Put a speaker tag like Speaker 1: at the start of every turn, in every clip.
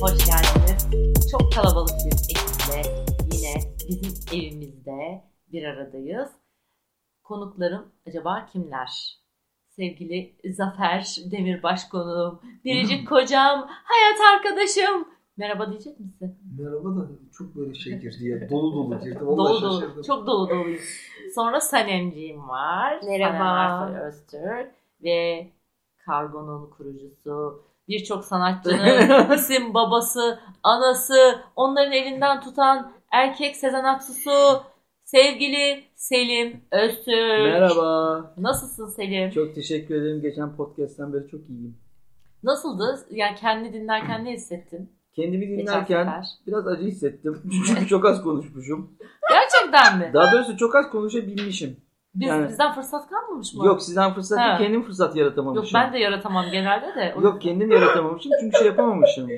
Speaker 1: Hoş geldiniz. Çok kalabalık bir ekiple yine bizim evimizde bir aradayız. Konuklarım acaba kimler? Sevgili Zafer Demirbaş konuğum, biricik kocam, hayat arkadaşım. Merhaba diyecek misin?
Speaker 2: Merhaba da çok böyle şey girdi ya. Dolu dolu girdi. Vallahi
Speaker 1: Dolu
Speaker 2: şaşırdım.
Speaker 1: dolu, çok dolu doluyum. Sonra Sanemciğim var.
Speaker 3: Merhaba.
Speaker 1: Sanem Ersoy Öztürk ve Kargon'un kurucusu, birçok sanatçının isim babası, anası, onların elinden tutan erkek Sezen Aksu'su, sevgili Selim Öztürk.
Speaker 4: Merhaba.
Speaker 1: Nasılsın Selim?
Speaker 4: Çok teşekkür ederim. Geçen podcast'ten beri çok iyiyim.
Speaker 1: Nasıldı? Yani kendi dinlerken ne hissettin?
Speaker 4: Kendimi
Speaker 1: Geçen
Speaker 4: dinlerken
Speaker 1: sefer.
Speaker 4: biraz acı hissettim. Çünkü çok az konuşmuşum.
Speaker 1: Gerçekten mi?
Speaker 4: Daha doğrusu çok az konuşabilmişim.
Speaker 1: Biz,
Speaker 4: yani-
Speaker 1: Bizden fırsat kalmamış mı?
Speaker 4: Yok sizden fırsat
Speaker 1: Ha.
Speaker 4: değil, kendim fırsat
Speaker 1: Yok
Speaker 4: yaratamamışım.
Speaker 1: ben de yaratamam genelde de. O
Speaker 4: Yok kendim yaratamamışım çünkü şey yapamamışım.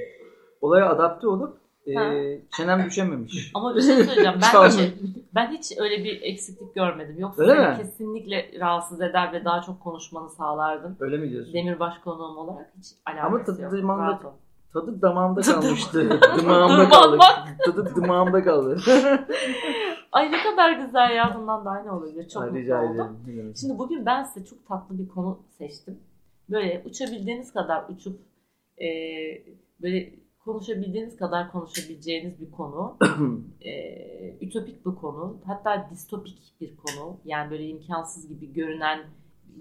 Speaker 4: Olaya adapte olup e,
Speaker 1: Ha.
Speaker 4: çenem düşememiş.
Speaker 1: Ama bir şey söyleyeceğim. Ben
Speaker 4: Çalmış.
Speaker 1: hiç, ben hiç öyle bir eksiklik görmedim. Yoksa
Speaker 4: Öyle
Speaker 1: seni
Speaker 4: mi?
Speaker 1: kesinlikle rahatsız eder ve daha çok konuşmanı sağlardım.
Speaker 4: Öyle mi diyorsun?
Speaker 1: Demirbaş konuğum olarak hiç alakası
Speaker 4: Ama
Speaker 1: yok.
Speaker 4: tadı damağında-
Speaker 1: Rahat ol.
Speaker 4: Tadı damağımda kalmıştı. Dımağımda kaldı.
Speaker 1: Dırmanmak.
Speaker 4: Tadı dımağımda kaldı.
Speaker 1: Ay ne kadar güzel ya. Bundan daha ne olabilir? Çok
Speaker 4: Ay,
Speaker 1: mutlu
Speaker 4: Rica
Speaker 1: oldum.
Speaker 4: ederim. Ne demek.
Speaker 1: Şimdi bugün ben size çok tatlı bir konu seçtim. Böyle uçabildiğiniz kadar uçup e, böyle konuşabildiğiniz kadar konuşabileceğiniz bir konu. E, ütopik bir konu. Hatta distopik bir konu. Yani böyle imkansız gibi görünen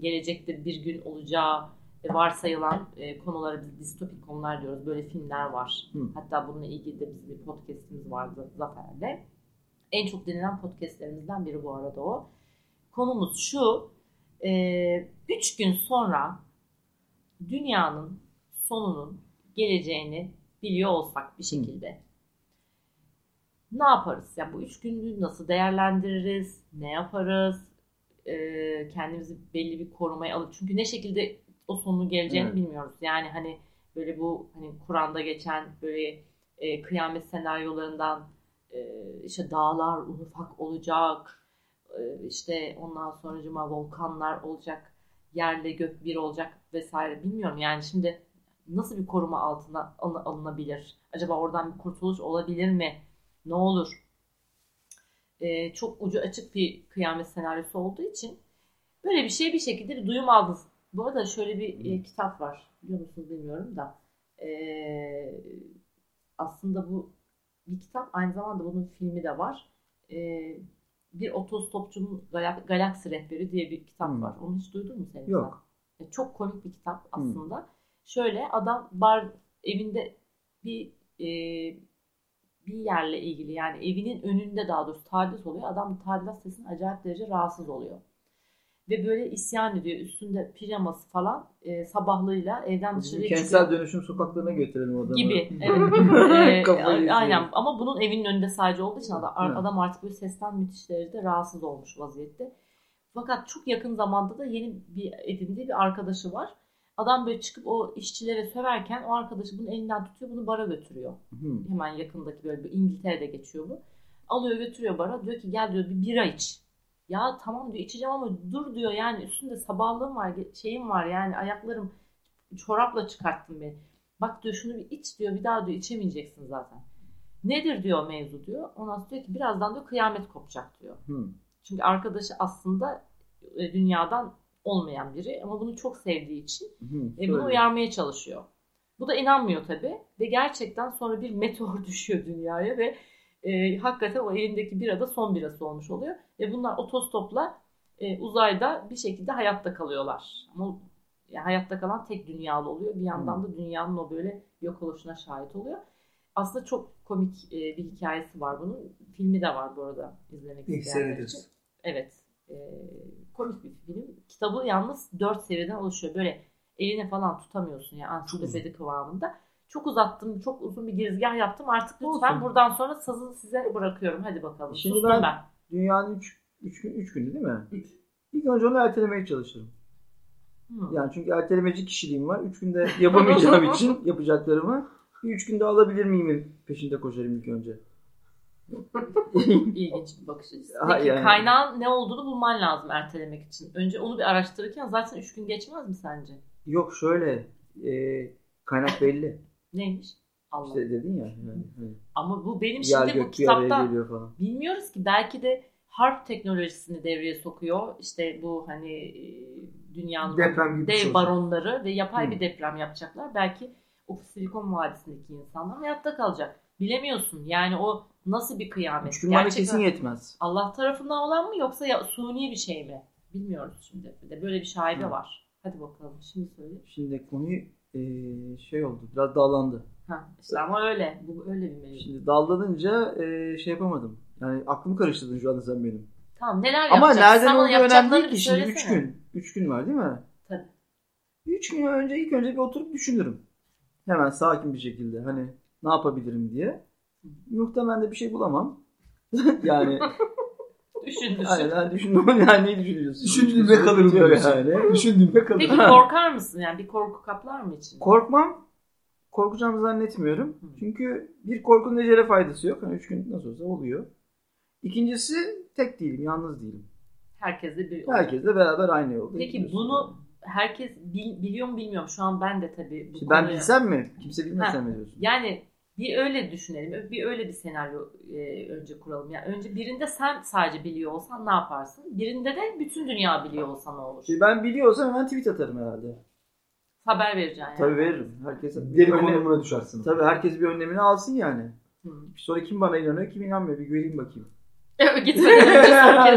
Speaker 1: gelecekte bir gün olacağı varsayılan e, konulara biz distopik konular diyoruz. Böyle filmler var.
Speaker 4: Hı.
Speaker 1: Hatta bununla ilgili de bizim bir podcastimiz vardı Zafer'le. En çok dinlenen podcastlerimizden biri bu arada o. Konumuz şu. E, üç gün sonra dünyanın sonunun geleceğini biliyor olsak bir şekilde. Ne yaparız? Ya bu üç günü nasıl değerlendiririz? Ne yaparız? Ee, kendimizi belli bir korumaya alıp çünkü ne şekilde o sonun geleceğini
Speaker 4: Evet.
Speaker 1: bilmiyoruz. Yani hani böyle bu hani Kur'an'da geçen böyle e, kıyamet senaryolarından e, işte dağlar ufak olacak, e, işte ondan sonracıma volkanlar olacak, yerle gök bir olacak vesaire bilmiyorum. Yani şimdi nasıl bir koruma altına alın- alınabilir? Acaba oradan bir kurtuluş olabilir mi? Ne olur? E, çok ucu açık bir kıyamet senaryosu olduğu için böyle bir şey bir şekilde bir duyum aldım. Bu arada şöyle bir e, kitap var. Biliyor musunuz bilmiyorum da. E, aslında bu bir kitap. Aynı zamanda bunun filmi de var. E, bir otostopçunun Galak- Galaksi Rehberi diye bir kitap
Speaker 4: Hmm.
Speaker 1: var. Onu hiç duydun mu sen?
Speaker 4: Yok.
Speaker 1: E, Çok komik bir kitap aslında. Şöyle adam bar evinde bir e, bir yerle ilgili yani evinin önünde daha doğrusu tadilat oluyor. Adam tadilat sesine acayip derece rahatsız oluyor. Ve böyle isyan ediyor. Üstünde pijaması falan e, sabahlığıyla evden
Speaker 4: Bizim
Speaker 1: dışarıya
Speaker 4: kentsel dönüşüm sokaklarına götürelim adamı.
Speaker 1: gibi. Evet. Ee,
Speaker 4: Kafayı yesin.
Speaker 1: aynen. Ama bunun evinin önünde sadece olduğu için adam,
Speaker 4: Evet.
Speaker 1: adam artık böyle sesten müthiş derecede rahatsız olmuş vaziyette. Fakat çok yakın zamanda da yeni bir edindiği bir arkadaşı var. Adam böyle çıkıp o işçilere söverken o arkadaşı bunun elinden tutuyor bunu bara götürüyor.
Speaker 4: Hı.
Speaker 1: Hemen yakındaki böyle bir İngiltere'de geçiyor bu. Alıyor götürüyor bara diyor ki gel diyor bir bira iç. Ya tamam diyor içeceğim ama dur diyor yani üstünde sabahlığım var ge- şeyim var yani ayaklarım çorapla çıkarttın beni. Bak diyor şunu bir iç diyor bir daha diyor içemeyeceksin zaten. Nedir diyor mevzu diyor. Ondan sonra diyor ki birazdan diyor kıyamet kopacak diyor.
Speaker 4: Hı.
Speaker 1: Çünkü arkadaşı aslında e, dünyadan olmayan biri ama bunu çok sevdiği için
Speaker 4: Hı,
Speaker 1: e, bunu
Speaker 4: söyle.
Speaker 1: uyarmaya çalışıyor. Bu da inanmıyor tabii ve gerçekten sonra bir meteor düşüyor dünyaya ve e, hakikaten o elindeki bira da son birası olmuş oluyor. Ve bunlar otostopla e, uzayda bir şekilde hayatta kalıyorlar. Ama e, hayatta kalan tek dünyalı oluyor. Bir yandan da dünyanın o böyle yok oluşuna şahit oluyor. Aslında çok komik e, bir hikayesi var bunun. Filmi de var bu arada izlemek
Speaker 2: İlk
Speaker 1: isteyenler için.
Speaker 2: seyrederiz.
Speaker 1: Evet. E, komik bir film. Kitabı yalnız dört seriden oluşuyor. Böyle eline falan tutamıyorsun ya ansiklopedi kıvamında. Çok uzattım, çok uzun bir girizgah yaptım. Artık lütfen
Speaker 4: Olsun.
Speaker 1: buradan sonra sazı size bırakıyorum. Hadi bakalım.
Speaker 4: Şimdi
Speaker 1: Sustum ben.
Speaker 4: ben- Dünyanın 3 üç, gün, üç günü değil mi? İlk önce onu ertelemeye çalışırım.
Speaker 1: Hı.
Speaker 4: Yani çünkü ertelemeci kişiliğim var. 3 günde yapamayacağım için yapacaklarımı 3 günde alabilir miyim peşinde koşarım ilk önce.
Speaker 1: İlginç Hmm, bir bakış açısı.
Speaker 4: Ha,
Speaker 1: Peki
Speaker 4: yani.
Speaker 1: kaynağın ne olduğunu bulman lazım ertelemek için. Önce onu bir araştırırken zaten 3 gün geçmez mi sence?
Speaker 4: Yok şöyle e, kaynak belli.
Speaker 1: Neymiş? Allah.
Speaker 4: İşte dedin ya. Yani, hani,
Speaker 1: Ama bu benim
Speaker 4: yer
Speaker 1: şimdi bu
Speaker 4: gök bir araya
Speaker 1: kitapta
Speaker 4: geliyor falan.
Speaker 1: bilmiyoruz ki belki de harp teknolojisini devreye sokuyor. İşte bu hani e, dünyanın
Speaker 2: Deprem gibi bir şey
Speaker 1: dev
Speaker 2: olacak.
Speaker 1: baronları ve yapay
Speaker 4: Hı.
Speaker 1: bir deprem yapacaklar. Belki o Silikon Vadisi'ndeki insanlar hayatta kalacak. Bilemiyorsun. Yani o nasıl bir kıyamet?
Speaker 4: Üç gün bana
Speaker 1: Gerçekten
Speaker 4: kesin yetmez.
Speaker 1: Allah tarafından olan mı yoksa ya, suni bir şey mi? Bilmiyoruz şimdi. Bir de böyle bir şaibe
Speaker 4: Hı.
Speaker 1: var. Hadi bakalım. Şimdi söyle.
Speaker 4: Şimdi konuyu eee, şey oldu. Biraz dağlandı.
Speaker 1: Ha, işte ama öyle. Bu öyle bir mevzu.
Speaker 4: Şimdi dallanınca eee, şey yapamadım. Yani aklımı karıştırdın şu anda sen benim.
Speaker 1: Tamam neler
Speaker 4: Ama
Speaker 1: yapacağız?
Speaker 4: nereden
Speaker 1: Sen bana
Speaker 4: olduğu önemli
Speaker 1: yapacaklarını
Speaker 4: değil
Speaker 1: bir
Speaker 4: ki. Şimdi 3
Speaker 1: söylesene.
Speaker 4: gün. 3 gün var değil mi?
Speaker 1: Tabii.
Speaker 4: 3 gün önce ilk önce bir oturup düşünürüm. Hemen sakin bir şekilde hani ne yapabilirim diye. Muhtemelen de bir şey bulamam. yani
Speaker 1: Düşün düşün.
Speaker 4: aynen ben düşündüm. Yani ne düşünüyorsun?
Speaker 2: Düşündüğümde kalırım
Speaker 4: Diyor
Speaker 2: diyorsun.
Speaker 4: yani.
Speaker 2: Düşündüğümde kalır.
Speaker 1: Peki korkar mısın? Yani bir korku kaplar mı içinde?
Speaker 4: Korkmam. Korkacağımı zannetmiyorum.
Speaker 1: Hı.
Speaker 4: Çünkü bir korkunun ecele faydası yok. Hani üç gün nasıl olsa oluyor. İkincisi tek değilim, yalnız değilim.
Speaker 1: Herkeste bir
Speaker 4: Herkesle beraber aynı yolda.
Speaker 1: Peki
Speaker 4: gidiyorsun.
Speaker 1: bunu herkes bil- biliyor mu bilmiyorum. Şu an ben de tabii bu
Speaker 4: İşte ben
Speaker 1: konuya-
Speaker 4: bilsem mi? Kimse bilmesem mi diyorsun?
Speaker 1: Yani bir öyle düşünelim. Bir öyle bir senaryo e, önce kuralım. Yani önce birinde sen sadece biliyor olsan ne yaparsın? Birinde de bütün dünya biliyor olsa ne olur?
Speaker 4: Şimdi ben biliyorsam hemen tweet atarım herhalde.
Speaker 1: Haber vereceksin yani.
Speaker 4: Tabii veririm. Herkes
Speaker 2: Deli
Speaker 4: önle-
Speaker 2: konumuna düşersin.
Speaker 4: Tabii herkes bir önlemini alsın yani.
Speaker 1: Hı.
Speaker 4: Sonra kim bana inanıyor, kim inanmıyor bir göreyim bakayım.
Speaker 1: Gitmeden önce son kez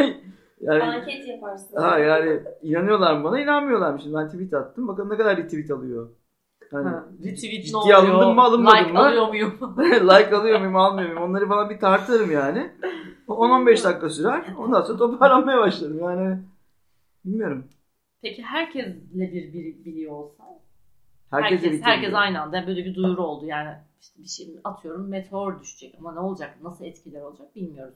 Speaker 1: bir-
Speaker 4: yani
Speaker 3: Anket yaparsın.
Speaker 4: Ha yani inanıyorlar mı bana inanmıyorlar mı? Şimdi ben tweet attım. Bakalım ne kadar retweet alıyor. Hani
Speaker 1: Ha, Retweet ne
Speaker 4: ciddiye
Speaker 1: oluyor?
Speaker 4: alındım mı, alınmadım
Speaker 1: like
Speaker 4: mı?
Speaker 1: alıyor muyum?
Speaker 4: like alıyor muyum almıyor muyum? Onları falan bir tartırım yani. O 10-15 dakika sürer. Ondan sonra toparlanmaya başlarım yani. Bilmiyorum.
Speaker 1: Peki herkesle bir, bir biliyor olsa?
Speaker 4: Herkes,
Speaker 1: Herkes, herkes, aynı anda böyle bir duyuru oldu yani işte bir şey atıyorum meteor düşecek ama ne olacak nasıl etkiler olacak bilmiyoruz.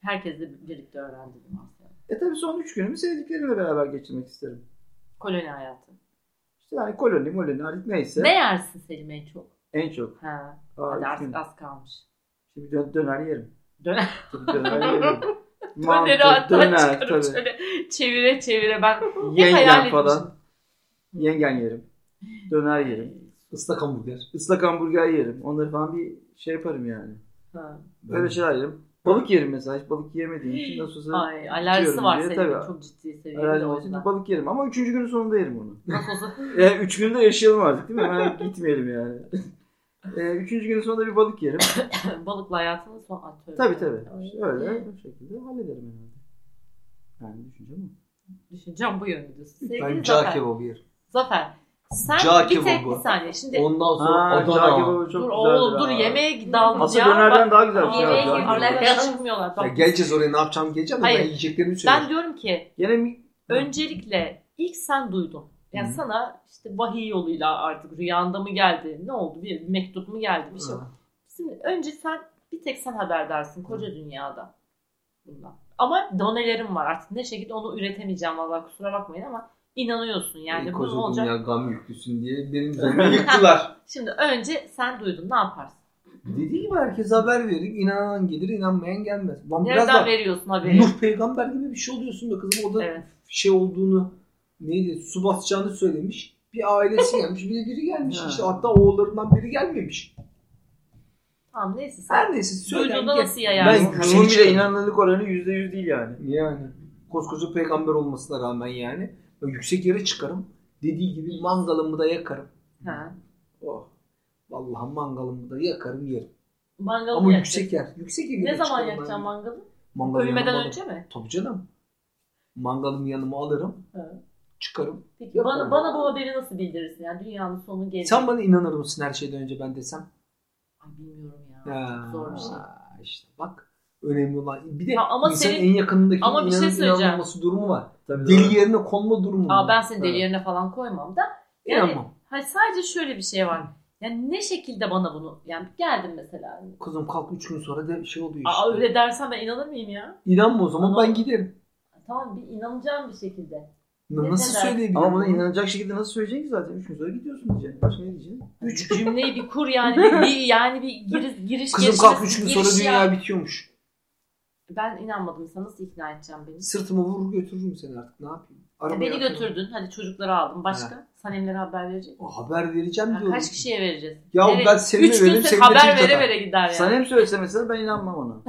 Speaker 1: Herkesle birlikte öğrendim aslında.
Speaker 4: E tabii son 3 günümü sevdiklerimle beraber geçirmek isterim.
Speaker 1: Koloni hayatı.
Speaker 4: İşte yani koloni, moloni artık neyse.
Speaker 1: Ne yersin Selim en çok?
Speaker 4: En çok.
Speaker 1: Ha,
Speaker 4: Aa,
Speaker 1: hadi
Speaker 4: üç
Speaker 1: artık
Speaker 4: gün.
Speaker 1: az kalmış.
Speaker 4: Şimdi dön- döner yerim.
Speaker 1: Döner.
Speaker 4: Tabii döner yerim. Mantı,
Speaker 1: Döneri hatta
Speaker 4: döner,
Speaker 1: çıkarıp
Speaker 4: tabii.
Speaker 1: şöyle çevire çevire ben hayal
Speaker 4: Yengen
Speaker 1: etmiştim.
Speaker 4: falan. Yengen yerim. Döner yerim.
Speaker 2: Islak hamburger.
Speaker 4: Islak hamburger yerim. Onları falan bir şey yaparım yani.
Speaker 1: Ha.
Speaker 4: Böyle
Speaker 1: şey-
Speaker 4: şeyler yerim. Balık yerim mesela. Hiç balık yemediğim için nasıl olsa
Speaker 1: Ay alerjisi
Speaker 4: Diyorum
Speaker 1: var
Speaker 4: diye,
Speaker 1: Selim'in
Speaker 4: tabii.
Speaker 1: çok ciddi seviyede de
Speaker 4: herhalde
Speaker 1: o
Speaker 4: onun için
Speaker 1: yüzden.
Speaker 4: bir balık yerim. Ama üçüncü günün sonunda yerim onu.
Speaker 1: Nasıl olsa
Speaker 4: E, üç günde yaşayalım artık değil mi? Hemen gitmeyelim yani. E, üçüncü günün sonunda bir balık yerim.
Speaker 1: balıkla hayatını son atıyor.
Speaker 4: tabii tabii. İşte öyle bu şekilde hallederim herhalde. Yani düşünce mi?
Speaker 1: Düşüncem bu yönde. Sevgili
Speaker 2: Ben
Speaker 1: Zafer.
Speaker 2: cağ kebabı yerim.
Speaker 1: Zafer sen
Speaker 2: Cağ
Speaker 1: bir tek
Speaker 2: kebabı.
Speaker 1: bir saniye şimdi
Speaker 2: Ondan sonra
Speaker 4: Aa, cağ
Speaker 2: Adana.
Speaker 4: kebabı çok
Speaker 1: dur
Speaker 4: güzeldir
Speaker 1: oğlum dur
Speaker 4: ha.
Speaker 1: yemeğe dalacağım.
Speaker 4: Aslında dönerden daha güzel bir şey. var
Speaker 3: Yemeğe
Speaker 4: cağ
Speaker 3: gidiyorlar.
Speaker 4: kebabı.
Speaker 1: Alakaya çıkmıyorlar.
Speaker 2: Ya
Speaker 1: Bak,
Speaker 2: geleceğiz oraya ne yapacağım geleceğim de ben
Speaker 1: Hayır.
Speaker 2: yiyeceklerimi
Speaker 1: ben
Speaker 4: şey
Speaker 2: söyleyeyim.
Speaker 1: diyorum ki
Speaker 4: Gene mi?
Speaker 1: öncelikle ilk sen duydun. Yani
Speaker 4: Hı.
Speaker 1: sana işte vahiy yoluyla artık rüyanda mı geldi? Ne oldu? Bir mektup mu geldi? Bir şey.
Speaker 2: Ha.
Speaker 1: Şimdi önce sen bir tek sen haberdarsın koca dünyada bundan. Ama donelerim var artık ne şekilde onu üretemeyeceğim vallahi kusura bakmayın ama inanıyorsun yani
Speaker 2: Yani
Speaker 1: bunun
Speaker 2: koca
Speaker 1: olacak.
Speaker 2: dünya gam yüklüsün diye benim üzerime yıktılar.
Speaker 1: Şimdi önce sen duydun ne yaparsın?
Speaker 2: Dediği gibi herkese haber verin. İnanan gelir, inanmayan gelmez. Lan biraz
Speaker 1: Nereden
Speaker 2: da
Speaker 1: veriyorsun haberi?
Speaker 2: Nuh peygamber gibi bir şey oluyorsun be kızım. O da
Speaker 1: Evet.
Speaker 2: şey olduğunu neydi su basacağını söylemiş. Bir ailesi gelmiş, bir de biri gelmiş.
Speaker 4: Ha.
Speaker 2: İşte hatta oğullarından biri gelmemiş.
Speaker 1: Tamam neyse sen.
Speaker 2: Her neyse söylen
Speaker 1: Duyduğunda
Speaker 2: gel.
Speaker 1: nasıl yayar?
Speaker 4: Ben
Speaker 2: Ben şey
Speaker 4: Nuh'un
Speaker 2: güçlü
Speaker 4: bile
Speaker 2: çıkarım.
Speaker 4: inanırlık oranı %100 değil yani.
Speaker 2: Yani koskoca peygamber olmasına rağmen yani ben yüksek yere çıkarım. Dediği gibi mangalımı da yakarım.
Speaker 1: Ha.
Speaker 2: Oh. Vallahi mangalımı da yakarım yerim.
Speaker 1: Mangalı
Speaker 2: Ama
Speaker 1: mı
Speaker 2: yüksek şey yer. Yüksek yere
Speaker 1: Ne zaman
Speaker 2: çıkarım ben.
Speaker 1: yakacaksın mangalı?
Speaker 2: Mangalı yanıma
Speaker 1: Ölmeden
Speaker 2: alırım.
Speaker 1: önce mi?
Speaker 2: Tabii canım. Mangalımı yanıma alırım.
Speaker 1: Ha.
Speaker 2: Çıkarım.
Speaker 1: Peki
Speaker 2: Yok,
Speaker 1: bana,
Speaker 2: olmaz.
Speaker 1: bana bu haberi nasıl bildirirsin? Yani dünyanın sonu gelecek.
Speaker 2: Sen bana inanır mısın her şeyden önce ben desem?
Speaker 1: Ay bilmiyorum ya.
Speaker 2: Ya,
Speaker 1: Çok zor bir şey.
Speaker 2: işte bak önemli olan. Bir de
Speaker 1: Ya ama
Speaker 2: insanın
Speaker 1: senin-
Speaker 2: en yakınındaki
Speaker 1: ama bir şey söyleyeceğim.
Speaker 2: inanılması durumu var.
Speaker 4: Tabii
Speaker 2: Deli yerine konma durumu
Speaker 1: Aa,
Speaker 2: var.
Speaker 1: ben seni deli
Speaker 4: Evet.
Speaker 1: yerine falan koymam da. Yani,
Speaker 2: İnanmam.
Speaker 1: hayır, sadece şöyle bir şey var. Yani ne şekilde bana bunu yani geldin mesela.
Speaker 2: Kızım kalk 3 gün sonra de şey oluyor işte.
Speaker 1: Aa öyle dersen ben inanır mıyım ya?
Speaker 2: İnanma o zaman
Speaker 1: Ama-
Speaker 2: ben giderim.
Speaker 1: Tamam bir inanacağım bir şekilde.
Speaker 2: Na-
Speaker 1: Ne
Speaker 2: Nasıl
Speaker 1: kadar-
Speaker 2: söyleyebilirim?
Speaker 4: Ama buna inanacak şekilde nasıl söyleyeceksin ki zaten? Üç gün sonra gidiyorsun diyeceksin. Başka ne diyeceksin?
Speaker 1: Üç cümleyi bir kur yani bir, bir- yani bir giriş giriş
Speaker 2: Kızım
Speaker 1: giriş-
Speaker 2: kalk 3 gün sonra
Speaker 1: giriş
Speaker 2: dünya
Speaker 1: ya.
Speaker 2: bitiyormuş.
Speaker 1: Ben inanmadım sana nasıl ikna edeceğim beni?
Speaker 2: Sırtıma vurur götürürüm seni artık ne yapayım?
Speaker 1: Ya
Speaker 2: Arabaya
Speaker 1: E, beni
Speaker 2: atarım.
Speaker 1: götürdün. Hadi çocukları aldım. Başka? sanemlere haber verecek.
Speaker 2: O haber vereceğim
Speaker 1: Ya
Speaker 2: diyorum.
Speaker 1: Kaç kişiye vereceğiz?
Speaker 2: Ya
Speaker 1: Nereye-
Speaker 2: ben seninle
Speaker 1: Üç
Speaker 2: veririm,
Speaker 1: gün
Speaker 2: seninle
Speaker 1: haber
Speaker 2: TikTok'a.
Speaker 1: vere vere gider yani.
Speaker 4: Sana hem söylese mesela ben inanmam ona.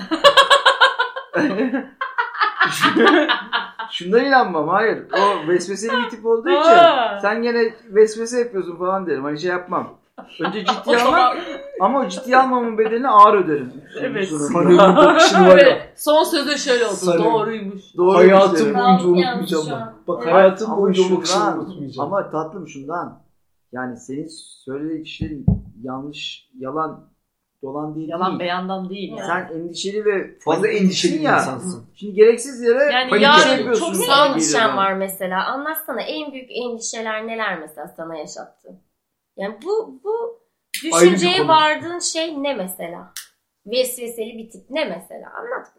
Speaker 4: Şundan inanmam hayır. O vesveseli bir tip olduğu için
Speaker 1: Aa.
Speaker 4: sen gene vesvese yapıyorsun falan derim. Hani şey yapmam. Önce ciddiye
Speaker 1: O zaman-
Speaker 4: almam ama o ciddiye almamın bedelini ağır öderim. şey
Speaker 1: Evet.
Speaker 2: Sanırım bakışın var ya.
Speaker 1: Böyle son sözü şöyle oldu.
Speaker 2: Sanem.
Speaker 1: Doğruymuş.
Speaker 4: Doğru şey
Speaker 2: Hayatım
Speaker 4: işte.
Speaker 2: boyunca
Speaker 3: Yanlış
Speaker 2: unutmayacağım
Speaker 3: şu
Speaker 2: ben.
Speaker 3: an.
Speaker 2: Bak
Speaker 3: Evet.
Speaker 2: hayatım
Speaker 4: Ama
Speaker 2: boyunca
Speaker 4: şundan-
Speaker 2: bakışını unutmayacağım.
Speaker 4: Ama tatlım şundan. Yani senin söylediğin şeyin yanlış, yalan, dolan değil.
Speaker 1: Yalan
Speaker 4: değil. Ee,
Speaker 1: beyandan değil yani.
Speaker 4: Sen endişeli ve
Speaker 2: Fazla
Speaker 4: paniklisin
Speaker 2: endişeli bir
Speaker 4: ya.
Speaker 2: insansın.
Speaker 4: Şimdi gereksiz yere
Speaker 1: Yani
Speaker 4: panik
Speaker 1: yarın
Speaker 4: şey yapıyorsun.
Speaker 3: Çok
Speaker 4: gibi
Speaker 3: ne
Speaker 4: geliyor
Speaker 3: endişen
Speaker 4: bana.
Speaker 3: var mesela? Anlatsana en büyük endişeler neler mesela sana yaşattı? Yani bu bu
Speaker 2: Ayrı bir
Speaker 3: düşünceye
Speaker 2: konu.
Speaker 3: vardığın şey ne mesela? Vesveseli bir tip ne mesela? Anlat.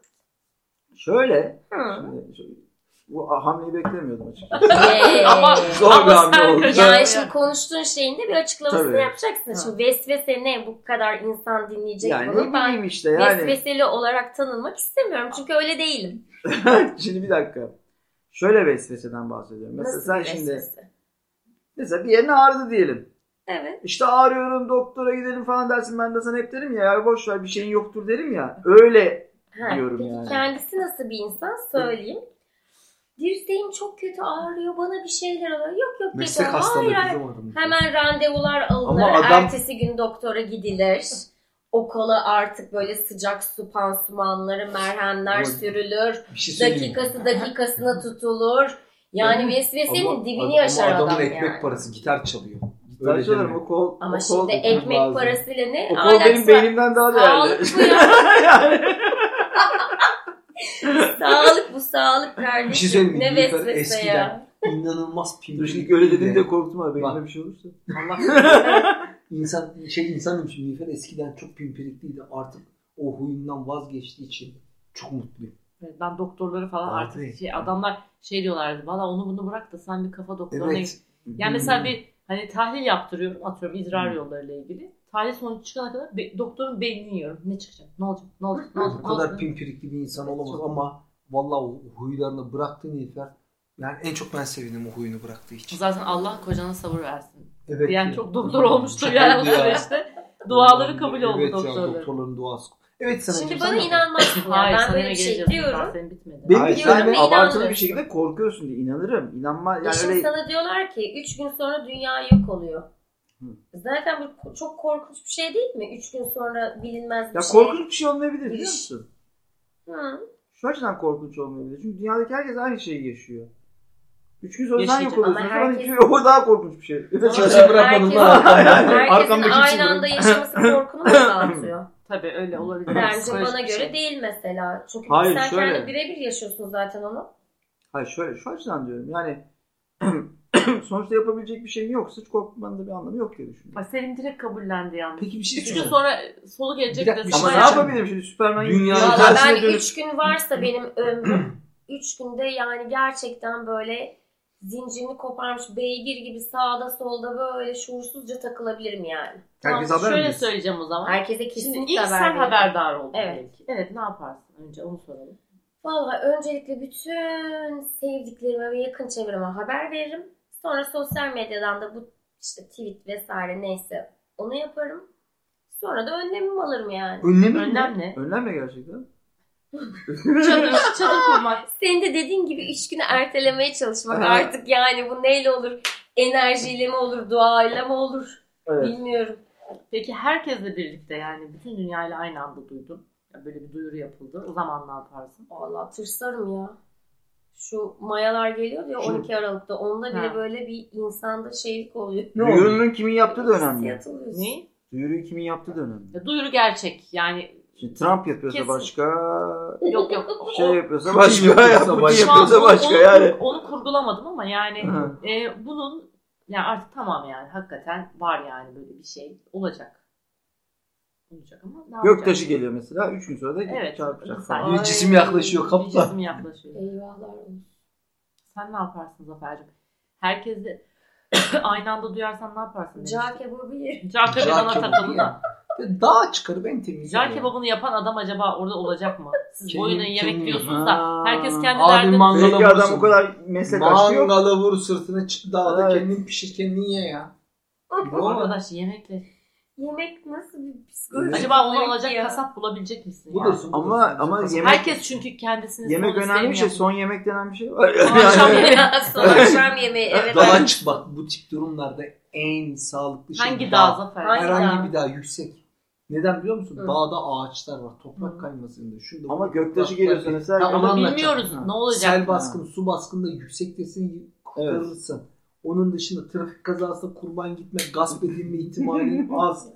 Speaker 4: Şöyle.
Speaker 3: Hı.
Speaker 4: şimdi şöyle- Bu hamleyi beklemiyordum açıkçası.
Speaker 3: Ee,
Speaker 1: Ama-
Speaker 4: Zor bir
Speaker 1: Ama
Speaker 4: hamle
Speaker 1: sen
Speaker 4: oldu.
Speaker 1: kaçın-
Speaker 3: yani
Speaker 1: Ya.
Speaker 3: şimdi konuştuğun şeyin de bir açıklamasını
Speaker 4: Tabii.
Speaker 3: yapacaksın.
Speaker 1: Ha.
Speaker 3: Şimdi vesvese ne? Bu kadar insan dinleyecek
Speaker 4: Yani ne
Speaker 3: bunu. Ben
Speaker 4: bileyim işte yani.
Speaker 3: vesveseli olarak tanınmak istemiyorum. Çünkü öyle değilim.
Speaker 4: şimdi bir dakika. Şöyle vesveseden bahsediyorum. Mesela
Speaker 3: Nasıl
Speaker 4: sen
Speaker 3: bir
Speaker 4: şimdi
Speaker 3: vesvese?
Speaker 4: mesela bir yerin ağrıdı diyelim.
Speaker 3: Evet.
Speaker 4: İşte ağrıyorum doktora gidelim falan dersin ben de sana hep derim ya, ya boş ver bir şeyin yoktur derim ya. Öyle
Speaker 3: Ha,
Speaker 4: Diyorum
Speaker 3: peki
Speaker 4: yani.
Speaker 3: Kendisi nasıl bir insan söyleyeyim. Dirseğim çok kötü ağrıyor. Bana bir şeyler oluyor. Yok yok.
Speaker 2: Meslek
Speaker 3: geçer.
Speaker 2: hastalığı
Speaker 3: Hayır,
Speaker 2: bizim
Speaker 3: hayır.
Speaker 2: adamız.
Speaker 3: Hemen randevular alınır.
Speaker 2: Ama adam-
Speaker 3: Ertesi gün doktora gidilir. O kola artık böyle sıcak su pansumanları, merhemler
Speaker 2: Ama-
Speaker 3: sürülür.
Speaker 2: Bir şey söyleyeyim. mi?
Speaker 3: Dakikası dakikasına tutulur. Yani
Speaker 2: Ama-
Speaker 3: vesvesenin
Speaker 2: Ama-
Speaker 3: dibini
Speaker 2: ama
Speaker 3: yaşar adam,
Speaker 2: adamın ekmek
Speaker 3: yani.
Speaker 2: parası gitar çalıyor.
Speaker 4: ben
Speaker 2: Öyle
Speaker 4: söylerim
Speaker 2: deme.
Speaker 4: o kol.
Speaker 3: Ama
Speaker 4: o kol
Speaker 3: şimdi
Speaker 4: dokunmaz
Speaker 3: ekmek
Speaker 4: lazım.
Speaker 3: parasıyla ne?
Speaker 4: O kol
Speaker 3: alakası
Speaker 4: benim
Speaker 3: var?
Speaker 4: beynimden daha değerli.
Speaker 3: Sağlık bu ya.
Speaker 4: yani.
Speaker 3: sağlık bu sağlık kardeşim.
Speaker 2: Bir şey söyleyeyim mi?
Speaker 3: Ne
Speaker 2: Nilüfer
Speaker 3: vesvese
Speaker 2: eskiden
Speaker 3: ya.
Speaker 2: İnanılmaz
Speaker 4: Dur
Speaker 2: pimpirikli.
Speaker 4: şimdi öyle dediğinde
Speaker 2: de
Speaker 4: korktum abi.
Speaker 2: Bak.
Speaker 4: Beynimde bir şey olursa.
Speaker 1: Allah
Speaker 2: insan şey insanım şimdi Nilüfer eskiden çok pimpirikliydi. Artık o huyundan vazgeçtiği için çok mutluyum.
Speaker 1: Evet, ben doktorları falan
Speaker 2: Abi.
Speaker 1: artık şey, adamlar şey diyorlardı. Valla onu bunu bırak da sen bir kafa doktoruna git.
Speaker 2: Evet.
Speaker 1: Yani mesela bir hani tahlil yaptırıyorum atıyorum idrar yollarıyla ilgili. Tahlil sonucu çıkana kadar be- doktorun beynini yiyorum. Ne çıkacak? Ne olacak? Ne olacak? Ne olacak?
Speaker 2: Bu
Speaker 1: Ne
Speaker 2: kadar
Speaker 1: olacak?
Speaker 2: pimpirikli bir insan olamaz ama vallahi o huylarını bıraktı Nilüfer. Yani en çok ben sevindim o huyunu bıraktığı için.
Speaker 1: Zaten Allah kocana sabır versin.
Speaker 2: Evet.
Speaker 1: Yani çok doktor olmuştur yani o
Speaker 2: oldu ya.
Speaker 1: süreçte. Duaları kabul oldu
Speaker 2: evet,
Speaker 1: doktorların.
Speaker 2: Ya, doktorların duası. Evet sana şey
Speaker 3: Şimdi bana inanmazsın ya.
Speaker 1: Hayır,
Speaker 3: ben
Speaker 1: sana
Speaker 3: böyle
Speaker 1: ne
Speaker 3: bir şey
Speaker 1: geleceğiz? Daha
Speaker 3: diyorum.
Speaker 1: senin bitmedi.
Speaker 2: Benim
Speaker 4: Hayır,
Speaker 2: bir
Speaker 4: sen
Speaker 3: dönemde
Speaker 4: abartılı
Speaker 3: inanmıyorsun.
Speaker 4: bir şekilde korkuyorsun diye inanırım. İnanma yani
Speaker 3: Şimdi
Speaker 4: öyle
Speaker 3: sana diyorlar ki 3 gün sonra dünya yok oluyor.
Speaker 4: Hı.
Speaker 3: Zaten bu ko- çok korkunç bir şey değil mi? 3 gün sonra bilinmez bir
Speaker 4: ya
Speaker 3: şey.
Speaker 4: korkunç bir şey olmayabilir biliyor
Speaker 3: Biliş.
Speaker 4: musun?
Speaker 3: Hı.
Speaker 4: Şu açıdan korkunç olmayabilir. Çünkü dünyadaki herkes aynı şeyi yaşıyor. Üç gün sonra sen yok
Speaker 1: Yaşayacak
Speaker 4: oluyorsun.
Speaker 3: ama
Speaker 4: O zaman
Speaker 3: herkes-
Speaker 4: iki- o daha korkunç bir şey.
Speaker 2: Çalışıp bırakmadım
Speaker 3: Herkesin,
Speaker 2: lan.
Speaker 3: herkesin
Speaker 2: Arkamdaki
Speaker 3: aynı
Speaker 2: çizgi.
Speaker 3: anda yaşaması korkunu mu dağıtıyor?
Speaker 1: Tabii öyle olabilir.
Speaker 3: Bence
Speaker 1: Psikolojik
Speaker 3: bana
Speaker 1: bir şey.
Speaker 3: göre değil mesela. Çünkü
Speaker 4: Hayır,
Speaker 3: sen
Speaker 4: şöyle.
Speaker 3: kendi birebir yaşıyorsun zaten onu.
Speaker 4: Hayır şöyle şu açıdan diyorum. Yani sonuçta yapabilecek bir şeyin yoksa hiç korkmanın da bir anlamı yok diye düşünüyorum.
Speaker 1: Ay, Selim direkt kabullendi yalnız.
Speaker 2: Peki bir şey
Speaker 1: Üç gün
Speaker 2: söyleyeceğim.
Speaker 1: sonra solu gelecek
Speaker 2: Bir şey
Speaker 1: de
Speaker 2: dakika,
Speaker 4: Ama
Speaker 2: Ama
Speaker 4: ne
Speaker 2: sen-
Speaker 4: yapabilirim şimdi Süperman
Speaker 2: Dünyayı
Speaker 4: dünyanın
Speaker 3: Valla
Speaker 4: tersine
Speaker 3: şey ben
Speaker 4: dönüp
Speaker 3: 3 gün varsa benim ömrüm 3 günde yani gerçekten böyle zincirini koparmış beygir gibi sağda solda böyle şuursuzca takılabilirim yani.
Speaker 4: Herkes
Speaker 3: Tamam.
Speaker 4: haber
Speaker 1: Şöyle
Speaker 4: mi?
Speaker 1: söyleyeceğim o zaman.
Speaker 3: Herkese
Speaker 1: Şimdi
Speaker 3: kesinlikle
Speaker 1: ilk
Speaker 3: haber
Speaker 1: sen
Speaker 3: veririm.
Speaker 1: haberdar oldun.
Speaker 3: Evet.
Speaker 1: belki. Evet ne yaparsın önce onu soralım.
Speaker 3: Valla öncelikle bütün sevdiklerime ve yakın çevreme haber veririm. Sonra sosyal medyadan da bu işte tweet vesaire neyse onu yaparım. Sonra da önlemimi alırım yani.
Speaker 2: Önlemi mi?
Speaker 1: Önlem ne?
Speaker 4: Önlem mi gerçekten?
Speaker 1: Çadır, çadır kurmak.
Speaker 3: Senin de dediğin gibi üç günü ertelemeye çalışmak
Speaker 4: Evet.
Speaker 3: artık yani bu neyle olur? Enerjiyle mi olur, duayla mı olur
Speaker 4: Evet.
Speaker 3: bilmiyorum.
Speaker 1: Peki herkesle birlikte yani bütün dünyayla aynı anda duydun. Ya böyle bir duyuru yapıldı. O zaman ne yaparsın?
Speaker 3: Vallahi tırsarım ya. Şu mayalar geliyor ya
Speaker 4: Şu-
Speaker 3: 12 Aralık'ta. Onda bile
Speaker 1: Ha.
Speaker 3: böyle bir insanda şeylik oluyor.
Speaker 2: Ne
Speaker 4: Duyurunun kimin yaptığı da önemli.
Speaker 3: Hissiyat oluyorsun.
Speaker 1: Ne?
Speaker 4: Duyuruyu kimin yaptığı da önemli.
Speaker 1: Ya duyuru gerçek. Yani
Speaker 4: Şimdi Trump yapıyorsa
Speaker 1: Kesin.
Speaker 4: başka,
Speaker 1: yok yok.
Speaker 4: şey
Speaker 1: O-
Speaker 4: yapıyorsa
Speaker 2: Başka
Speaker 4: Putin
Speaker 2: yapıyorsa
Speaker 4: Putin
Speaker 1: şu
Speaker 2: başka.
Speaker 1: an
Speaker 4: yapıyorsa
Speaker 1: onu-
Speaker 4: başka
Speaker 1: onu,
Speaker 4: yani.
Speaker 1: Onu kurgulamadım ama yani
Speaker 4: Ha.
Speaker 1: e, bunun yani artık tamam yani hakikaten var yani böyle bir şey olacak. Olacak ama ne yapacak?
Speaker 4: Göktaşı geliyor mesela. Üç gün sonra da
Speaker 1: Evet.
Speaker 4: çarpacak.
Speaker 1: Sen-
Speaker 4: falan.
Speaker 2: Bir cisim yaklaşıyor
Speaker 1: Bir
Speaker 2: kaptan.
Speaker 1: cisim yaklaşıyor.
Speaker 3: Eyvallah olsun.
Speaker 1: Sen ne yaparsın Zafer'cim? Herkesi aynı anda duyarsan ne yaparsın?
Speaker 3: Cağ kebabı yerim.
Speaker 1: Cağ kebabına
Speaker 2: kebabı
Speaker 1: takıldı
Speaker 2: ya.
Speaker 1: da.
Speaker 2: Dağa çıkarıp en temiz.
Speaker 1: Cağ
Speaker 2: yer.
Speaker 1: kebabını yapan adam acaba orada olacak mı? Siz
Speaker 2: Kim-
Speaker 1: boyuna
Speaker 2: kim-
Speaker 1: yemek diyorsunuz
Speaker 4: Ha.
Speaker 1: da herkes kendi
Speaker 2: Abi
Speaker 1: derdini...
Speaker 2: man- Mangala
Speaker 4: Belki adam
Speaker 2: vursun.
Speaker 4: bu kadar meslek aşkı yok.
Speaker 2: Mangala vur sırtına çık dağda
Speaker 4: Evet.
Speaker 2: kendin pişir kendin ye ya. Ne olur.
Speaker 1: Arkadaş yemekle.
Speaker 3: Yemek nasıl bir psikoloji?
Speaker 1: Acaba onu
Speaker 3: Yemek
Speaker 1: alacak
Speaker 3: ya.
Speaker 1: kasap bulabilecek misin?
Speaker 2: Bu
Speaker 1: ya?
Speaker 2: da su, bu da
Speaker 4: Ama-
Speaker 2: su.
Speaker 4: ama yemek-
Speaker 1: Herkes çünkü kendisini
Speaker 4: Yemek
Speaker 1: sonu
Speaker 4: önemli bir şey.
Speaker 1: sevmiyor.
Speaker 4: Son yemek denen bir şey var.
Speaker 1: Akşam
Speaker 4: Yani-
Speaker 1: yemeği.
Speaker 3: Son akşam yemeği evet.
Speaker 2: Dala çık bak bu tip durumlarda en sağlıklı şey
Speaker 1: Hangi
Speaker 2: dağ.
Speaker 1: dağ Zafer?
Speaker 3: Hangi
Speaker 2: Herhangi
Speaker 3: dağ?
Speaker 2: bir dağ yüksek. Neden biliyor musun?
Speaker 3: Hı.
Speaker 2: Dağda ağaçlar var. Toprak
Speaker 1: Hı.
Speaker 2: kaymasında. Şurada
Speaker 4: Ama
Speaker 2: burada
Speaker 4: göktaşı
Speaker 2: toprak
Speaker 4: geliyorsa
Speaker 2: kaybı.
Speaker 4: mesela
Speaker 2: Ha, onu
Speaker 1: Ama
Speaker 2: anlatacağım.
Speaker 1: bilmiyoruz
Speaker 4: Ha.
Speaker 1: ne olacak.
Speaker 2: Sel baskını, su baskını, yüksek desin kurtarırsın. Onun dışında trafik kazasında kurban gitme, gasp edilme ihtimali az.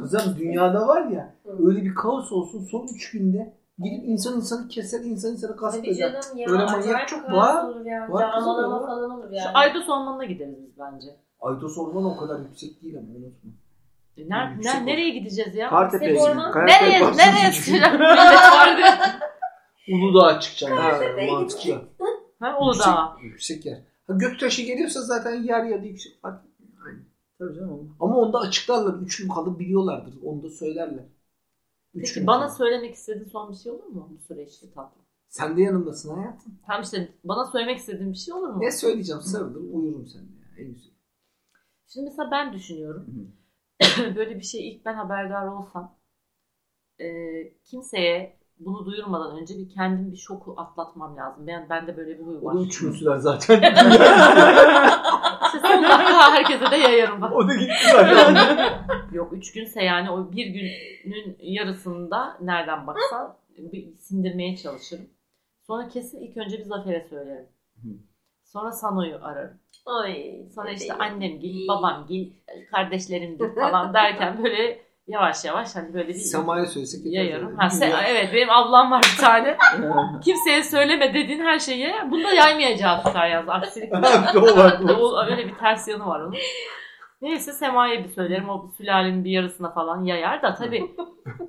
Speaker 2: Kızım dünyada var ya
Speaker 3: Hı.
Speaker 2: öyle bir kaos olsun son 3 günde gidip insan insanı keser, insan insanı gasp
Speaker 3: Tabii
Speaker 2: eder.
Speaker 3: canım ya.
Speaker 2: Öyle manyak
Speaker 3: acayip
Speaker 2: çok
Speaker 3: kaos
Speaker 2: var.
Speaker 3: olur ya.
Speaker 2: Var kızım,
Speaker 3: Canlanma
Speaker 2: var.
Speaker 3: falan olur
Speaker 1: Şu
Speaker 3: yani.
Speaker 1: Aydos Ormanı'na gideriz biz bence.
Speaker 2: Aydos ormanı o kadar yüksek değil ama unutma.
Speaker 1: E, ner-
Speaker 2: Yüksek
Speaker 1: ner-
Speaker 2: olur.
Speaker 1: nereye gideceğiz ya?
Speaker 4: Kartepe'ye
Speaker 3: Orman-
Speaker 4: gidiyor. Kayak
Speaker 1: Nereye?
Speaker 4: yaparsın.
Speaker 1: Nereye sıçacak? Millet sordu.
Speaker 2: Uludağ'a çıkacaksın.
Speaker 4: Ha,
Speaker 2: Ha, mantıklı.
Speaker 1: Ha o da.
Speaker 2: Yüksek, yüksek yer. Ha, göktaşı geliyorsa zaten yer ya da yüksek. Bak,
Speaker 4: Tabii canım.
Speaker 2: Ama onda açıklarlar. Üç gün kalıp biliyorlardır. Onu da söylerler. Üç
Speaker 1: Peki
Speaker 2: gün
Speaker 1: bana
Speaker 2: kalıp.
Speaker 1: söylemek istediğin son bir şey olur mu bu süreçte tatlı?
Speaker 2: Sen de yanımdasın hayatım.
Speaker 1: Tam işte bana söylemek istediğin bir şey olur mu?
Speaker 2: Ne söyleyeceğim? Sarılır uyurum seninle. ya, En güzel.
Speaker 1: Şimdi mesela ben düşünüyorum. Böyle bir şey ilk ben haberdar olsam e, kimseye bunu duyurmadan önce bir kendim bir şoku atlatmam lazım. Ben, ben de böyle bir huy var.
Speaker 2: O da üç müsüler zaten.
Speaker 1: İşte son dakika herkese de yayarım bak.
Speaker 2: o da gitti zaten.
Speaker 1: Yok üç günse yani o bir günün yarısında nereden baksan bir sindirmeye çalışırım. Sonra kesin ilk önce bir Zafer'e söylerim.
Speaker 4: Hı.
Speaker 1: Sonra Sano'yu ararım.
Speaker 3: Ay.
Speaker 1: Sonra işte
Speaker 3: bebeğim.
Speaker 1: annem gel, babam gel, kardeşlerim gel falan derken böyle yavaş yavaş hani böyle bir
Speaker 2: Sema'ya söylesek yeter
Speaker 1: yayarım.
Speaker 2: zaten.
Speaker 1: Ha, sen, evet benim ablam var bir tane. Kimseye söyleme dediğin her şeyi bunu da yaymayacağı tutar yalnız. Aksilik
Speaker 2: Ha, o var.
Speaker 1: o, öyle bir ters yanı var onun. Neyse Sema'ya bir söylerim. O sülalenin bir yarısına falan yayar da tabii.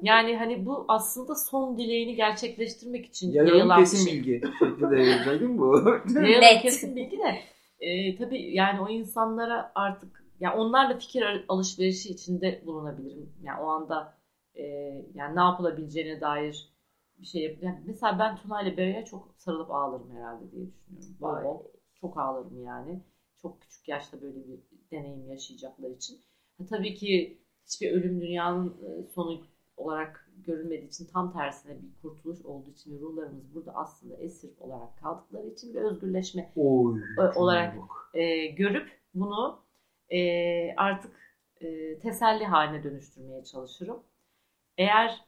Speaker 1: yani hani bu aslında son dileğini gerçekleştirmek için
Speaker 4: Yarın
Speaker 1: yayılan bir
Speaker 4: kesin
Speaker 1: şey.
Speaker 4: bilgi. Şekli de yayılacak değil mi bu?
Speaker 1: Yayılan
Speaker 3: Net.
Speaker 1: kesin bilgi de. E, tabii yani o insanlara artık yani onlarla fikir al- alışverişi içinde bulunabilirim. Yani o anda e, yani ne yapılabileceğine dair bir şey yap- yani mesela ben Tuna ile Bera'ya çok sarılıp ağlarım herhalde diye düşünüyorum. Bol bol. Çok ağlarım yani. Çok küçük yaşta böyle bir deneyim yaşayacaklar için. Ha, tabii ki hiçbir ölüm dünyanın e, sonu olarak görülmediği için tam tersine bir kurtuluş olduğu için ve ruhlarımız burada aslında esir olarak kaldıkları için bir özgürleşme
Speaker 2: Oy.
Speaker 1: Ö- olarak.
Speaker 2: çok bak.
Speaker 1: e, görüp bunu e, artık e, teselli haline dönüştürmeye çalışırım. Eğer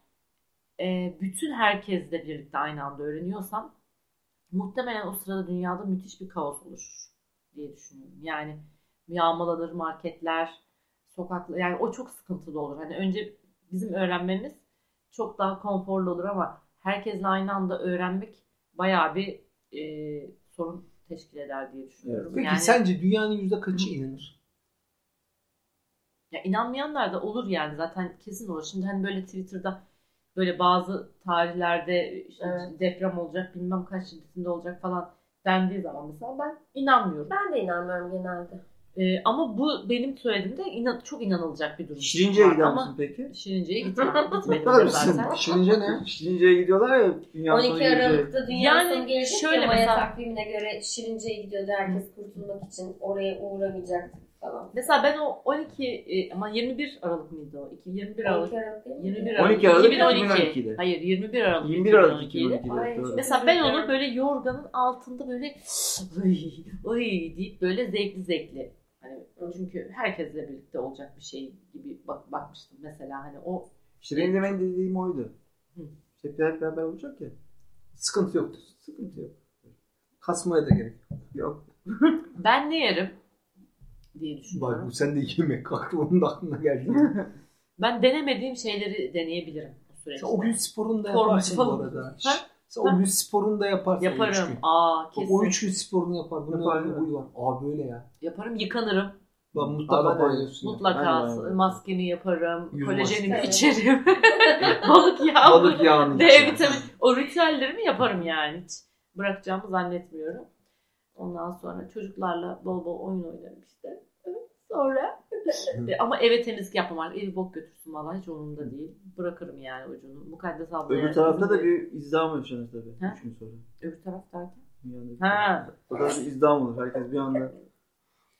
Speaker 1: e, bütün herkesle birlikte aynı anda öğreniyorsam muhtemelen o sırada dünyada müthiş bir kaos oluşur diye düşünüyorum. Yani yağmalanır marketler, sokaklar yani o çok sıkıntılı olur. Hani önce bizim öğrenmemiz çok daha konforlu olur ama herkesle aynı anda öğrenmek bayağı bir e, sorun teşkil eder diye düşünüyorum.
Speaker 2: Peki sence dünyanın yüzde kaçı inanır?
Speaker 1: Ya inanmayanlar da olur yani zaten kesin olur. Şimdi hani böyle Twitter'da böyle bazı tarihlerde işte
Speaker 3: Evet.
Speaker 1: deprem olacak bilmem kaç şiddetinde olacak falan dendiği zaman mesela ben inanmıyorum.
Speaker 3: Ben de inanmıyorum genelde.
Speaker 1: Ee, ama bu benim söylediğimde inan- çok inanılacak bir durum.
Speaker 4: Şirince'ye
Speaker 1: var
Speaker 4: gider
Speaker 1: ama
Speaker 4: misin peki?
Speaker 1: Şirince'ye gitmem. Gitmedim
Speaker 4: Gider
Speaker 1: de
Speaker 4: misin?
Speaker 1: zaten.
Speaker 2: Şirince ne?
Speaker 4: Şirince'ye gidiyorlar ya. Dünyanın sonu
Speaker 3: 12
Speaker 4: gelecek.
Speaker 3: Aralık'ta dünyanın
Speaker 1: Yani
Speaker 3: sonu gelecek
Speaker 1: şöyle
Speaker 3: şöyle ya Maya
Speaker 1: mesela-
Speaker 3: takvimine göre Şirince'ye gidiyordu herkes kurtulmak için oraya uğramayacak falan.
Speaker 1: Mesela ben o 12 e, ama 21 Aralık mıydı o? İki- 21 Aralık.
Speaker 3: 12 Aralık değil mi?
Speaker 1: 21
Speaker 4: Aralık.
Speaker 1: Aralık.
Speaker 4: 12 Aralık
Speaker 1: 2012.
Speaker 4: 2012'de.
Speaker 1: Hayır 21 Aralık.
Speaker 4: 21 Aralık
Speaker 1: 2012'de.
Speaker 4: 2012'de. evet.
Speaker 1: Mesela ben onu böyle yorganın altında böyle oy, oy deyip böyle zevkli zevkli. Hani çünkü herkesle birlikte olacak bir şey gibi bak, bakmıştım mesela hani o
Speaker 4: İşte benim de benim dediğim oydu.
Speaker 1: Hı.
Speaker 4: İşte hep beraber olacak ya.
Speaker 2: Sıkıntı yoktur.
Speaker 4: Sıkıntı yok.
Speaker 2: Kasmaya da gerek yok.
Speaker 4: Yok.
Speaker 1: ben ne yerim diye
Speaker 2: Bak bu
Speaker 1: düşünüyorum.
Speaker 2: sen de yemek aklı onun da aklına geldi.
Speaker 1: Ben denemediğim şeyleri deneyebilirim bu süreçte.
Speaker 2: sen o gün sporunu da
Speaker 1: Formu
Speaker 2: yaparsın bu
Speaker 1: falan.
Speaker 2: arada.
Speaker 1: Ha?
Speaker 2: Sen o gün sporunu da yaparsın. o üç
Speaker 1: Yaparım.
Speaker 2: gün.
Speaker 1: Aa
Speaker 2: Bak, O
Speaker 1: kesin.
Speaker 2: üç gün sporunu yapar. Bunun
Speaker 4: Yapar,
Speaker 2: yapar,
Speaker 4: değil mi?
Speaker 2: huyu var. Aa böyle ya.
Speaker 1: Yaparım yıkanırım.
Speaker 2: Ben mutlaka
Speaker 4: Aa, ben de-
Speaker 2: banyosun. yap.
Speaker 1: Mutlaka
Speaker 4: Ben de-
Speaker 1: maskemi yaparım.
Speaker 2: Yüz
Speaker 1: Kolajenimi
Speaker 3: maskesi.
Speaker 1: içerim. Balık yağmuru.
Speaker 2: Balık yağını
Speaker 1: D
Speaker 2: içer.
Speaker 1: vitamini. O ritüellerimi yaparım yani. Hiç bırakacağımı zannetmiyorum. Ondan sonra çocuklarla bol bol oyun oynarım işte. Evet. Sonra E, ama eve temizlik yapmam artık. Evi bok götürsün valla hiç umurumda değil. Bırakırım yani ucunu. Mukaddes ablaya.
Speaker 4: Öbür tarafta da bir izdiham yaşanır tabii.
Speaker 1: Ha?
Speaker 4: Üç gün sonra.
Speaker 1: Öbür taraf derken?
Speaker 4: Dünyada.
Speaker 1: Ha.
Speaker 4: O kadar bir izdiham olur. Herkes bir anda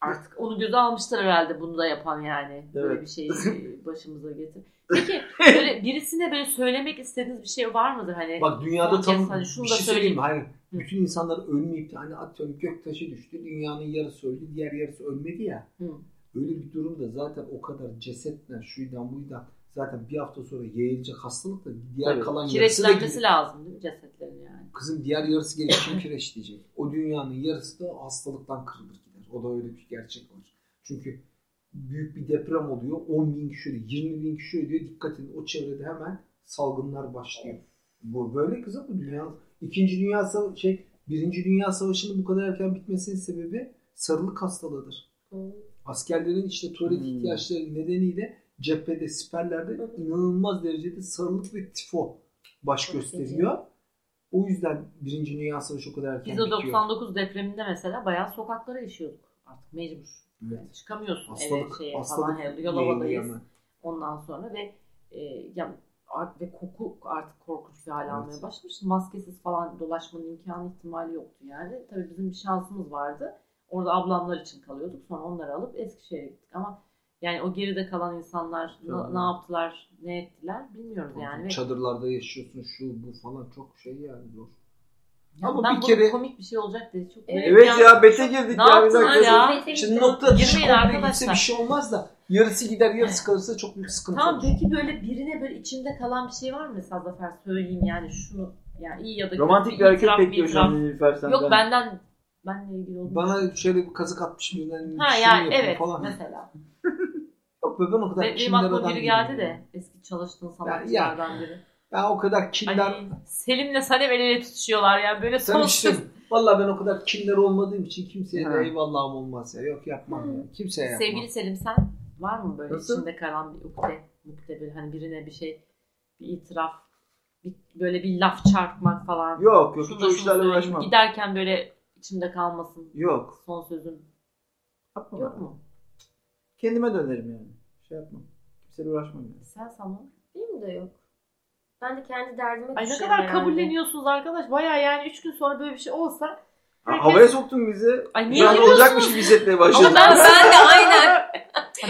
Speaker 1: Artık onu göze almışlar herhalde bunu da yapan yani. Böyle
Speaker 4: Evet.
Speaker 1: bir şeyi e, başımıza getir. Peki böyle birisine böyle söylemek istediğiniz bir şey var mıdır? Hani
Speaker 2: Bak dünyada
Speaker 1: Son kez
Speaker 2: tam
Speaker 1: hani
Speaker 2: bir
Speaker 1: şunu
Speaker 2: şey
Speaker 1: da
Speaker 2: söyleyeyim mi? Hayır.
Speaker 1: Hı.
Speaker 2: Bütün insanlar ölmeyip de hani atıyorum göktaşı düştü. Dünyanın yarısı öldü. Diğer yarısı ölmedi ya.
Speaker 1: Hı.
Speaker 2: Öyle bir durumda zaten o kadar cesetle şuydan buydan zaten bir hafta sonra yayılacak hastalıkla diğer
Speaker 4: Tabii.
Speaker 2: kalan yarısı da
Speaker 1: kireçlenmesi
Speaker 2: gidecek.
Speaker 1: lazım değil mi cesetlerin yani?
Speaker 2: Kızım diğer yarısı gelir kim kireç diyecek. O dünyanın yarısı da hastalıktan kırılır gider. O da öyle bir gerçek var. Çünkü büyük bir deprem oluyor. 10 bin kişi ölüyor. 20 bin kişi ölüyor. Dikkat edin o çevrede hemen salgınlar başlıyor. Bu böyle kızım bu dünya. İkinci Dünya Savaşı şey Birinci Dünya Savaşı'nın bu kadar erken bitmesinin sebebi sarılık hastalığıdır. Askerlerin işte tuvalet
Speaker 4: Hmm.
Speaker 2: ihtiyaçları nedeniyle cephede, siperlerde
Speaker 3: Hı hı.
Speaker 2: inanılmaz derecede sarılık ve tifo baş
Speaker 3: Çok
Speaker 2: gösteriyor. O yüzden Birinci Dünya Savaşı o kadar erken
Speaker 1: Biz o
Speaker 2: bitiyor.
Speaker 1: 99 depreminde mesela bayağı sokaklara işiyorduk. Artık mecbur.
Speaker 2: Evet.
Speaker 1: Çıkamıyorsun eve
Speaker 2: Hastalık,
Speaker 1: şeye
Speaker 2: hastalık
Speaker 1: falan.
Speaker 2: yayılıyor
Speaker 1: Yolova'dayız.
Speaker 2: ama.
Speaker 1: Ondan sonra ve e, ya art- ve koku artık korkunç bir hale
Speaker 2: Evet.
Speaker 1: almaya başlamıştı. Maskesiz falan dolaşmanın imkanı ihtimali yoktu yani. Tabii bizim bir şansımız vardı. Orada ablamlar için kalıyorduk. Sonra onları alıp Eskişehir'e gittik. Ama yani o geride kalan insanlar na-
Speaker 4: Tabii.
Speaker 1: ne yaptılar, ne ettiler bilmiyoruz yani. Ve
Speaker 2: Çadırlarda yaşıyorsun şu bu falan çok şey yani zor.
Speaker 1: Ya
Speaker 2: Ama
Speaker 1: ben
Speaker 2: bir
Speaker 1: bunun
Speaker 2: kere-
Speaker 1: komik bir şey olacak diye çok
Speaker 3: Evet
Speaker 4: Evet
Speaker 1: Yani-
Speaker 4: ya bete girdik
Speaker 1: Ne
Speaker 4: ya. bir
Speaker 1: yaptın
Speaker 4: dakika.
Speaker 1: lan ya?
Speaker 2: Şimdi nokta dışı
Speaker 1: Girmeyin
Speaker 2: komple gitse
Speaker 1: arkadaşlar.
Speaker 2: bir şey olmaz da yarısı gider yarısı kalırsa çok büyük sıkıntı
Speaker 1: Tamam
Speaker 2: olur.
Speaker 1: peki böyle birine böyle içinde kalan bir şey var mı mesela Zafer söyleyeyim yani şunu yani iyi ya da kötü
Speaker 4: Romantik bir hareket
Speaker 1: itiraf,
Speaker 4: bekliyor şu
Speaker 1: itiraf.
Speaker 4: an Nilüfer senden.
Speaker 1: Yok benden benle ilgili olmuş.
Speaker 2: Bana şöyle bir kazık atmış birinden
Speaker 1: ha
Speaker 4: şey
Speaker 2: şunu
Speaker 1: yani
Speaker 2: yapın
Speaker 1: evet
Speaker 2: falan.
Speaker 1: mesela.
Speaker 2: Yok be ben o kadar
Speaker 1: Ve benim
Speaker 2: kindar
Speaker 1: aklıma
Speaker 2: adam
Speaker 1: biri geldi
Speaker 2: değilim.
Speaker 1: de eski çalıştığın sanatçılardan biri.
Speaker 2: Ben o kadar kindar
Speaker 1: Ay, Selim'le Sanem el ele tutuşuyorlar yani böyle
Speaker 2: Sen işte,
Speaker 1: sonsuz.
Speaker 2: Valla şey ben o kadar kindar olmadığım için kimseye
Speaker 4: Ha.
Speaker 2: de eyvallahım olmaz ya. Yok yapmam ya. Kimseye yapmam.
Speaker 1: Sevgili Selim sen var mı böyle
Speaker 4: şey Nasıl?
Speaker 1: içinde kalan bir ukde, mukte bir hani birine bir şey bir itiraf bir, böyle bir laf çarpmak falan.
Speaker 4: Yok yok
Speaker 1: Şunu
Speaker 4: hiç
Speaker 1: da
Speaker 4: o
Speaker 1: şunu
Speaker 4: işlerle
Speaker 1: söyleyeyim,
Speaker 4: uğraşmam.
Speaker 1: Giderken böyle içimde kalmasın
Speaker 4: Yok.
Speaker 1: son sözün
Speaker 4: Yapmam.
Speaker 1: yok mu?
Speaker 4: Kendime dönerim yani. Şey yapmam. Kimseyle uğraşmam yani.
Speaker 1: Sen Sanem.
Speaker 3: Benim de yok. Ben de kendi derdime
Speaker 1: Ay ne
Speaker 4: şey
Speaker 3: düşüyorum
Speaker 1: kadar
Speaker 3: herhalde.
Speaker 1: kabulleniyorsunuz arkadaş. Baya yani 3 gün sonra böyle bir şey olsa
Speaker 4: Ha,
Speaker 1: Herkes-
Speaker 4: havaya soktun bizi.
Speaker 1: Ay niye
Speaker 4: Şu an
Speaker 1: giriyorsunuz?
Speaker 4: olacakmış gibi hissetmeye başladım.
Speaker 1: Ama ben-
Speaker 3: Ben de aynen.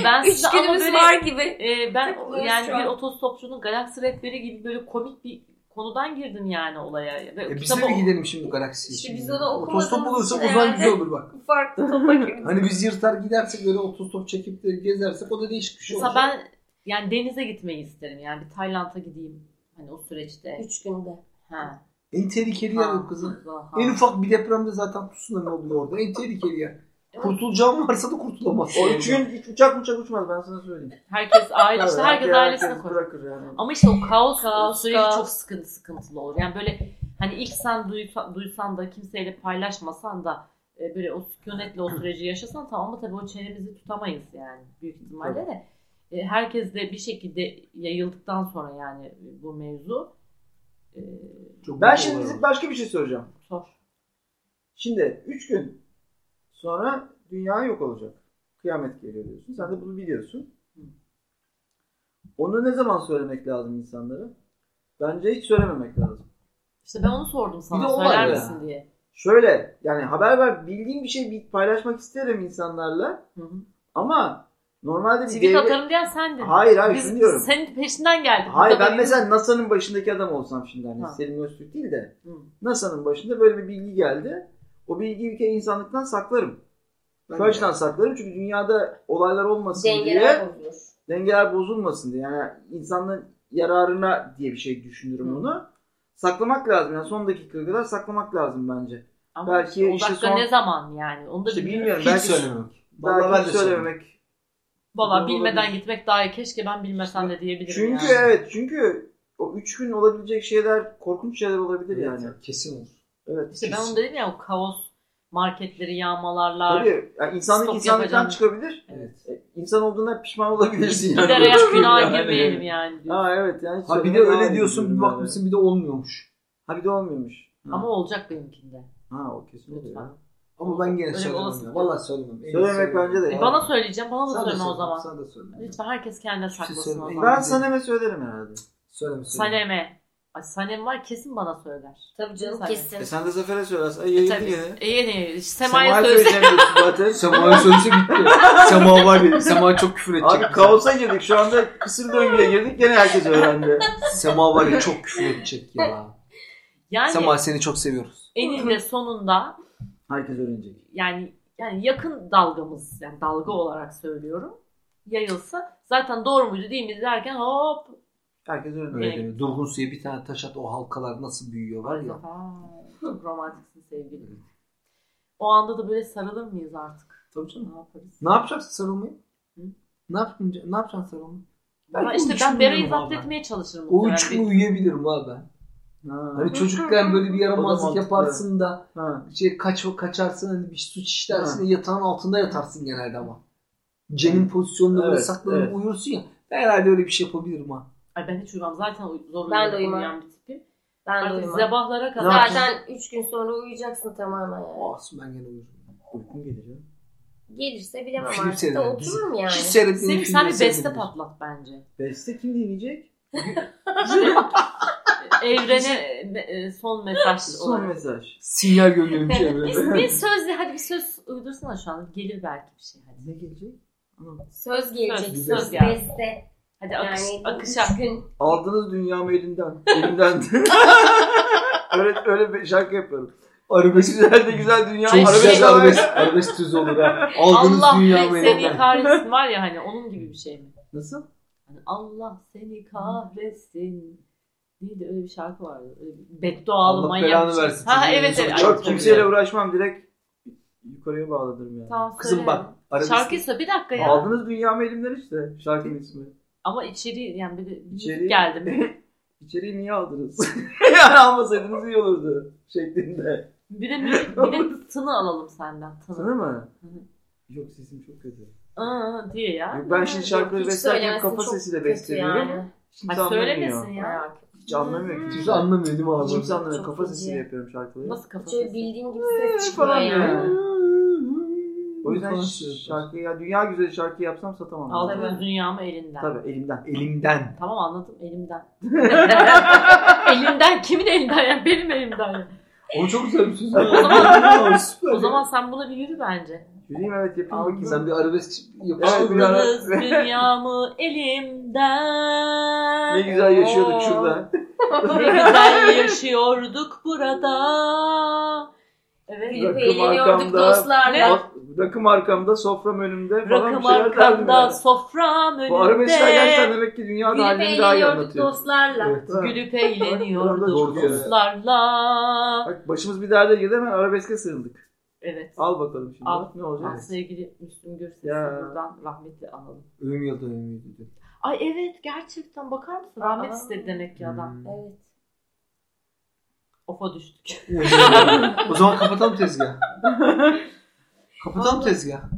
Speaker 1: ben
Speaker 3: Üç
Speaker 1: size ama
Speaker 3: günümüz
Speaker 1: böyle
Speaker 3: var gibi.
Speaker 1: e, ben
Speaker 3: Takılıyoruz
Speaker 1: yani
Speaker 3: şu an.
Speaker 1: bir otostopçunun galaksi rehberi gibi böyle komik bir konudan girdim yani olaya. Ve
Speaker 2: E biz
Speaker 1: kitabı-
Speaker 2: de mi gidelim şimdi galaksiye?
Speaker 3: İşte
Speaker 2: şimdi?
Speaker 3: biz onu okumadığımız
Speaker 2: Otostop bulursak
Speaker 3: için
Speaker 2: o zaman
Speaker 3: herhalde.
Speaker 2: güzel olur bak.
Speaker 3: Bu farklı topa girdik.
Speaker 2: Hani biz yırtar gidersek böyle otostop çekip de gezersek o da değişik bir şey
Speaker 1: Mesela
Speaker 2: olur.
Speaker 1: ben yani denize gitmeyi isterim. Yani bir Tayland'a gideyim. Hani o süreçte.
Speaker 3: Üç günde.
Speaker 1: Ha.
Speaker 2: En tehlikeli yer o kızım.
Speaker 1: Ha.
Speaker 2: En ufak bir depremde zaten tsunami oluyor orada. En tehlikeli yer.
Speaker 1: Evet.
Speaker 2: Kurtulacağım varsa da kurtulamazsın.
Speaker 4: O üç gün hiç uçak uçak uçmaz ben sana söyleyeyim.
Speaker 1: Herkes aile işte herkes ailesine koyar.
Speaker 4: bırakır yani.
Speaker 1: Ama işte o kaos,
Speaker 3: Kaos,
Speaker 1: süreci
Speaker 3: kaos.
Speaker 1: çok sıkıntı sıkıntılı olur. Yani böyle hani ilk sen duysa- duysan da kimseyle paylaşmasan da e, böyle o sükunetle o süreci yaşasan tamam ama tabii o çenemizi tutamayız yani büyük ihtimalle de. E, herkes de bir şekilde yayıldıktan sonra yani bu mevzu e,
Speaker 2: Çok
Speaker 4: Ben
Speaker 2: kötü
Speaker 4: şimdi
Speaker 2: olur.
Speaker 4: size başka bir şey soracağım.
Speaker 1: zor.
Speaker 4: Şimdi 3 gün sonra dünya yok olacak. Kıyamet geliyor diyorsun. Sen de bunu biliyorsun.
Speaker 1: Hı.
Speaker 4: Onu ne zaman söylemek lazım insanlara? Bence hiç söylememek lazım.
Speaker 1: İşte ben onu sordum
Speaker 2: Bir de
Speaker 1: sana
Speaker 2: o var
Speaker 1: söyler
Speaker 2: ya.
Speaker 1: misin diye.
Speaker 4: Şöyle yani haber ver bildiğim bir şey bir paylaşmak isterim insanlarla
Speaker 1: Hı hı.
Speaker 4: ama normalde bir
Speaker 1: Tweet
Speaker 4: devlet-
Speaker 1: atarım diyen sendin.
Speaker 4: Hayır hayır şunu
Speaker 1: Biz
Speaker 4: diyorum.
Speaker 1: senin peşinden geldik.
Speaker 4: Hayır
Speaker 1: Bu da
Speaker 4: ben
Speaker 1: benim-
Speaker 4: mesela NASA'nın başındaki adam olsam şimdi hani
Speaker 1: Ha.
Speaker 4: Selim Öztürk değil de
Speaker 1: Hı.
Speaker 4: NASA'nın başında böyle bir bilgi geldi. O bilgiyi bir kere insanlıktan saklarım.
Speaker 2: Ben de.
Speaker 4: Kaçtan saklarım çünkü dünyada olaylar olmasın diye
Speaker 3: Dengeler bozulur.
Speaker 4: dengeler bozulmasın diye. Yani insanların yararına diye bir şey düşünürüm
Speaker 1: Hı.
Speaker 4: bunu. Saklamak lazım. Yani son dakika kadar saklamak lazım bence.
Speaker 1: Ama
Speaker 4: Belki
Speaker 1: işte o
Speaker 4: işte
Speaker 1: dakika
Speaker 4: son-
Speaker 1: ne zaman yani? Onu da
Speaker 4: İşte
Speaker 1: bilmiyorum.
Speaker 4: bilmiyorum.
Speaker 2: Hiç
Speaker 4: Belki,
Speaker 2: söylememek. Vallahi
Speaker 4: belki
Speaker 2: ben de söylememek.
Speaker 4: söylememek
Speaker 1: Valla
Speaker 4: Doğru
Speaker 1: bilmeden
Speaker 4: olabilir.
Speaker 1: gitmek daha iyi. Keşke ben bilmesem de diyebilirim
Speaker 4: Çünkü
Speaker 1: yani.
Speaker 4: evet çünkü o üç gün olabilecek şeyler korkunç şeyler olabilir yani.
Speaker 2: Kesin olur.
Speaker 4: Evet.
Speaker 1: İşte ben onu dedim ya o kaos marketleri yağmalarlar.
Speaker 4: Tabii yani insanlık
Speaker 1: Stop
Speaker 4: insanlıktan
Speaker 1: yapacağım.
Speaker 4: çıkabilir.
Speaker 2: Evet.
Speaker 4: E, İnsan olduğuna pişman olabilirsin yani.
Speaker 1: Giderek
Speaker 4: Öyle
Speaker 1: günaha
Speaker 4: yani.
Speaker 1: girmeyelim yani. diyor.
Speaker 4: Ha evet yani. hiç
Speaker 2: Ha bir de
Speaker 4: söylemeye
Speaker 2: öyle
Speaker 4: devam
Speaker 2: diyorsun bir
Speaker 4: ediyorum
Speaker 2: bakmışsın bir de olmuyormuş.
Speaker 4: yani. Ha bir de olmuyormuş. Ha.
Speaker 1: Ama olacak benimkinde. E,
Speaker 4: ha o kesin oluyor.
Speaker 1: Lütfen.
Speaker 4: ya.
Speaker 2: Ama ben gene
Speaker 1: Öyle bir
Speaker 2: söylemem. ya.
Speaker 1: olasılık.
Speaker 2: Vallahi söylemem. En
Speaker 4: Söylemek
Speaker 2: iyisi-
Speaker 4: bence de.
Speaker 1: E, bana söyleyeceğim. Bana da
Speaker 2: Sen de
Speaker 1: söyleme o zaman.
Speaker 2: Sen de söyle.
Speaker 1: Lütfen herkes kendine
Speaker 2: Hiçbir şey
Speaker 1: saklasın o
Speaker 2: söylemeyin.
Speaker 1: zaman.
Speaker 4: Ben Sanem'e söylerim herhalde.
Speaker 2: Söyleme söyleme.
Speaker 1: Saneme. Ay Sanem var kesin bana söyler.
Speaker 3: Tabii canım
Speaker 1: Sen-
Speaker 3: kesin.
Speaker 4: E sen de Zafer'e söylersin. Ay
Speaker 1: E,
Speaker 4: yayın
Speaker 1: tabii.
Speaker 4: yine.
Speaker 1: E, yeni. Sema'ya söyleyeceğim.
Speaker 4: söyleyeceğim diyorsun zaten.
Speaker 2: Sema'nın sözü bitti. Sema var ya. Sema çok küfür edecek.
Speaker 4: Abi kaosa girdik. Şu anda kısır döngüye girdik. Gene herkes öğrendi.
Speaker 2: Sema var ya çok küfür edecek ya.
Speaker 1: Yani
Speaker 2: Sema seni çok seviyoruz.
Speaker 1: eninde sonunda
Speaker 4: Herkes öğrenecek.
Speaker 1: yani yani yakın dalgamız yani dalga olarak söylüyorum yayılsa zaten doğru muydu değil mi derken hop
Speaker 4: Herkes öğrenecek.
Speaker 2: Öyle deme. Durgun suya bir tane taş at o halkalar nasıl büyüyor var ya.
Speaker 1: Aa, çok romantiksin sevgilim. O anda da böyle sarılır mıyız artık?
Speaker 2: Tabii canım.
Speaker 1: Ne yaparız?
Speaker 2: Ne yapacaksın sarılmayı?
Speaker 1: Hı?
Speaker 2: Ne yapacaksın, ne yapacaksın sarılmayı?
Speaker 1: Ben
Speaker 2: o
Speaker 1: işte
Speaker 2: uçunu
Speaker 1: ben Bera'yı
Speaker 2: uyuyorum
Speaker 1: zapt
Speaker 2: abi.
Speaker 1: etmeye çalışırım.
Speaker 2: O
Speaker 1: muhtemelen.
Speaker 2: üçlü uyuyabilirim abi ben.
Speaker 4: Ha.
Speaker 2: Hani çocukken böyle bir
Speaker 4: O da
Speaker 2: yaramazlık
Speaker 4: mantıklı.
Speaker 2: yaparsın da
Speaker 4: Ha.
Speaker 2: şey kaç kaçarsın hani bir suç işlersin
Speaker 4: Ha.
Speaker 2: yatağın altında yatarsın genelde ama. Cenin pozisyonunda böyle
Speaker 4: Evet,
Speaker 2: saklanıp
Speaker 4: evet.
Speaker 2: uyursun ya. Ben herhalde öyle bir şey yapabilirim ha.
Speaker 1: Ay ben hiç uyumam. Zaten uy- zor
Speaker 3: Ben de
Speaker 1: uyuyan-
Speaker 3: uyumam.
Speaker 1: uyuyan bir tipim.
Speaker 3: Ben de
Speaker 1: Artık
Speaker 3: uyumam.
Speaker 1: zebahlara kadar.
Speaker 4: Ne yapacağız?
Speaker 3: Zaten 3 gün sonra uyuyacaksın tamamen yani.
Speaker 2: Olsun ben gene uyurum.
Speaker 4: Uykum gelecek.
Speaker 3: Gelirse bilemem
Speaker 2: Film
Speaker 3: artık da
Speaker 2: seyreder,
Speaker 3: otururum yani.
Speaker 2: Hiç seyretmediğim
Speaker 1: Sevim sen
Speaker 2: filmleri
Speaker 1: bir beste
Speaker 2: seyredebilirim.
Speaker 1: patlat bence.
Speaker 4: Beste kim dinleyecek?
Speaker 1: Evrene e, e, son mesaj
Speaker 4: Son
Speaker 1: olarak.
Speaker 4: mesaj.
Speaker 2: Sinyal göndermiş
Speaker 1: Biz,
Speaker 2: evrene.
Speaker 1: bir sözle hadi bir söz uydursana şu an. Gelir belki bir şey hadi.
Speaker 4: Ne gelecek?
Speaker 3: Söz gelecek.
Speaker 1: Söz,
Speaker 3: Söz,
Speaker 1: söz yani.
Speaker 3: beste.
Speaker 1: Hadi akış,
Speaker 3: Yani
Speaker 1: akışa.
Speaker 3: üç gün.
Speaker 4: Aldınız dünyamı elimden. Elimden. öyle, öyle bir şarkı yapıyorum.
Speaker 2: Arabesk.
Speaker 4: Güzel de güzel şey dünya.
Speaker 2: Çok
Speaker 1: Arabesk,
Speaker 2: güzel arabesk.
Speaker 4: arabesk.
Speaker 2: Arabesk tüz olur ha. Aldığınız
Speaker 1: Allah
Speaker 2: dünya
Speaker 1: seni
Speaker 2: meydanına.
Speaker 1: kahretsin var ya hani onun gibi bir şey mi?
Speaker 4: Nasıl?
Speaker 1: Hani Allah seni kahretsin. Neydi öyle bir şarkı vardı. Öyle bir beddualı
Speaker 2: Allah
Speaker 1: manyak.
Speaker 2: belanı
Speaker 1: bir şey.
Speaker 2: versin.
Speaker 1: Ha
Speaker 2: Çocuğun
Speaker 1: evet
Speaker 2: yüzünü
Speaker 1: evet.
Speaker 2: çok
Speaker 1: Ay,
Speaker 4: Çok
Speaker 1: tabii.
Speaker 4: kimseyle uğraşmam. Direkt yukarıya bağladım yani.
Speaker 1: Tamam,
Speaker 2: Kızım
Speaker 1: söyle.
Speaker 2: bak. Arabesk.
Speaker 1: Şarkıyı söyle bir dakika Şey ya.
Speaker 4: Aldınız dünyamı elimden işte. Şarkının ismi.
Speaker 1: Ama içeri yani bir de bir
Speaker 4: İçeri-
Speaker 1: müzik geldi mi?
Speaker 4: İçeriği niye aldınız? yani almasaydınız iyi olurdu. Şeklinde.
Speaker 1: Bir de müzik, bir de tını alalım senden. Tını.
Speaker 4: Sana mı?
Speaker 1: Hı.
Speaker 4: Yok sesim çok kötü.
Speaker 1: Aa, diye ya.
Speaker 4: Yok, ben şimdi şarkıları
Speaker 3: Hiç
Speaker 4: beslerken
Speaker 3: söylemesi
Speaker 4: kafa
Speaker 3: çok
Speaker 4: sesiyle
Speaker 3: kötü
Speaker 4: besteliyorum.
Speaker 3: yani.
Speaker 4: Kimse
Speaker 1: Ay, söylemesin ya.
Speaker 4: anlamıyor.
Speaker 3: Merak ettim.
Speaker 4: Hiç anlamıyor
Speaker 2: Kimse
Speaker 4: kimse.
Speaker 2: anlamıyor değil mi abi?
Speaker 4: Kimse anlamıyor.
Speaker 3: Çok
Speaker 4: Kafa
Speaker 3: feci.
Speaker 4: sesiyle yapıyorum şarkıları.
Speaker 1: Nasıl kafası?
Speaker 3: Şöyle bildiğin gibi ses
Speaker 4: Ee,
Speaker 3: çıkmıyor
Speaker 4: falan
Speaker 3: yani.
Speaker 4: yani. O
Speaker 2: O
Speaker 4: yüzden
Speaker 2: yüzden
Speaker 4: şarkıyı ya dünya güzeli şarkı yapsam satamam.
Speaker 1: Aldığımız dünyamı elinden.
Speaker 4: Tabii elimden.
Speaker 2: elimden.
Speaker 1: Tamam anladım elimden. elinden kimin elinden ya? Benim elimden. ya.
Speaker 2: O çok güzel bir söz.
Speaker 1: O zaman-
Speaker 2: Süper.
Speaker 1: O zaman sen buna bir yürü bence.
Speaker 4: Yürüyeyim evet yapayım
Speaker 2: Al bakayım.
Speaker 4: bakayım.
Speaker 2: sen bir arabesk
Speaker 4: Evet,
Speaker 2: yapıştır.
Speaker 4: bir ara-
Speaker 1: Aldınız dünyamı elimden.
Speaker 4: Ne güzel yaşıyorduk
Speaker 1: Oo,
Speaker 4: şurada.
Speaker 1: Ne güzel yaşıyorduk burada. Evet.
Speaker 3: Gülüp
Speaker 4: Rakım
Speaker 3: eğleniyorduk
Speaker 4: arkamda.
Speaker 3: dostlarla.
Speaker 4: Bak, Rakım arkamda, sofram önümde falan
Speaker 1: Rakım
Speaker 4: bir şeyler derdim
Speaker 1: arkamda,
Speaker 4: yani.
Speaker 1: sofram
Speaker 4: Bu arabeskler gerçekten
Speaker 1: önünde.
Speaker 4: demek ki dünya da
Speaker 3: Gülüp
Speaker 4: halini daha iyi
Speaker 3: eğleniyorduk
Speaker 4: anlatıyor.
Speaker 3: dostlarla.
Speaker 4: Evet, ha.
Speaker 1: Gülüp
Speaker 4: Doğru
Speaker 1: eğleniyorduk
Speaker 4: söylüyor.
Speaker 1: dostlarla.
Speaker 4: Bak başımız bir derde girdi hemen arabeske sığındık.
Speaker 1: Evet.
Speaker 4: Al bakalım şimdi.
Speaker 1: Al.
Speaker 4: Ne olacak?
Speaker 1: Ah, sevgili Müslüm Gürses'i
Speaker 4: Ya.
Speaker 1: buradan rahmetli analım.
Speaker 2: Ölüm yıldı ölüm yıldı.
Speaker 1: Ay evet gerçekten bakar mısın? Rahmet
Speaker 3: Aa.
Speaker 1: istedi demek ki
Speaker 4: Hmm.
Speaker 1: adam.
Speaker 3: Evet.
Speaker 1: Ofa düştük.
Speaker 2: o zaman kapatalım tezgahı. kapatalım tezgahı.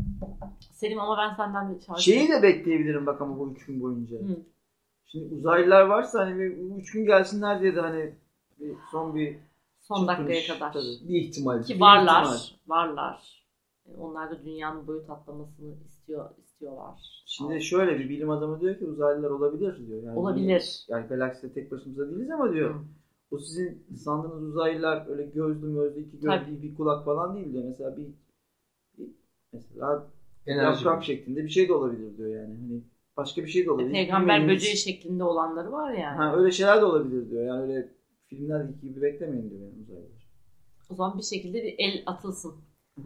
Speaker 1: Selim ama ben senden bir şarkı...
Speaker 4: Şeyi de bekleyebilirim bak ama bu üç gün boyunca.
Speaker 1: Hı.
Speaker 4: Şimdi uzaylılar varsa hani bir, bu üç gün gelsinler diye de hani bir, son bir
Speaker 1: Son dakikaya
Speaker 4: çırpınış.
Speaker 1: kadar.
Speaker 4: Tabii.
Speaker 2: Bir ihtimal.
Speaker 1: Ki varlar.
Speaker 4: ihtimal.
Speaker 1: Varlar. Yani Onlar da dünyanın boyut atlamasını istiyor istiyorlar.
Speaker 4: Şimdi şöyle bir bilim adamı diyor ki uzaylılar olabilir diyor. Yani
Speaker 1: Olabilir.
Speaker 4: Yani galakside tek başımıza değiliz ama diyor.
Speaker 1: Hı.
Speaker 4: O sizin sandığınız uzaylılar öyle gözlü mözlü iki gözlü
Speaker 1: Tabii.
Speaker 4: bir kulak falan değil diyor. Mesela bir, bir- mesela
Speaker 2: Enerji.
Speaker 4: yaprak şeklinde bir şey de olabilir diyor yani. Hani başka bir şey de olabilir.
Speaker 1: Peygamber
Speaker 4: Bilmediğimiz-
Speaker 1: böceği şeklinde olanları var yani.
Speaker 4: Ha, öyle şeyler de olabilir diyor. Yani öyle filmlerdeki gibi beklemeyin diyor yani uzaylılar.
Speaker 1: O zaman bir şekilde bir el atılsın.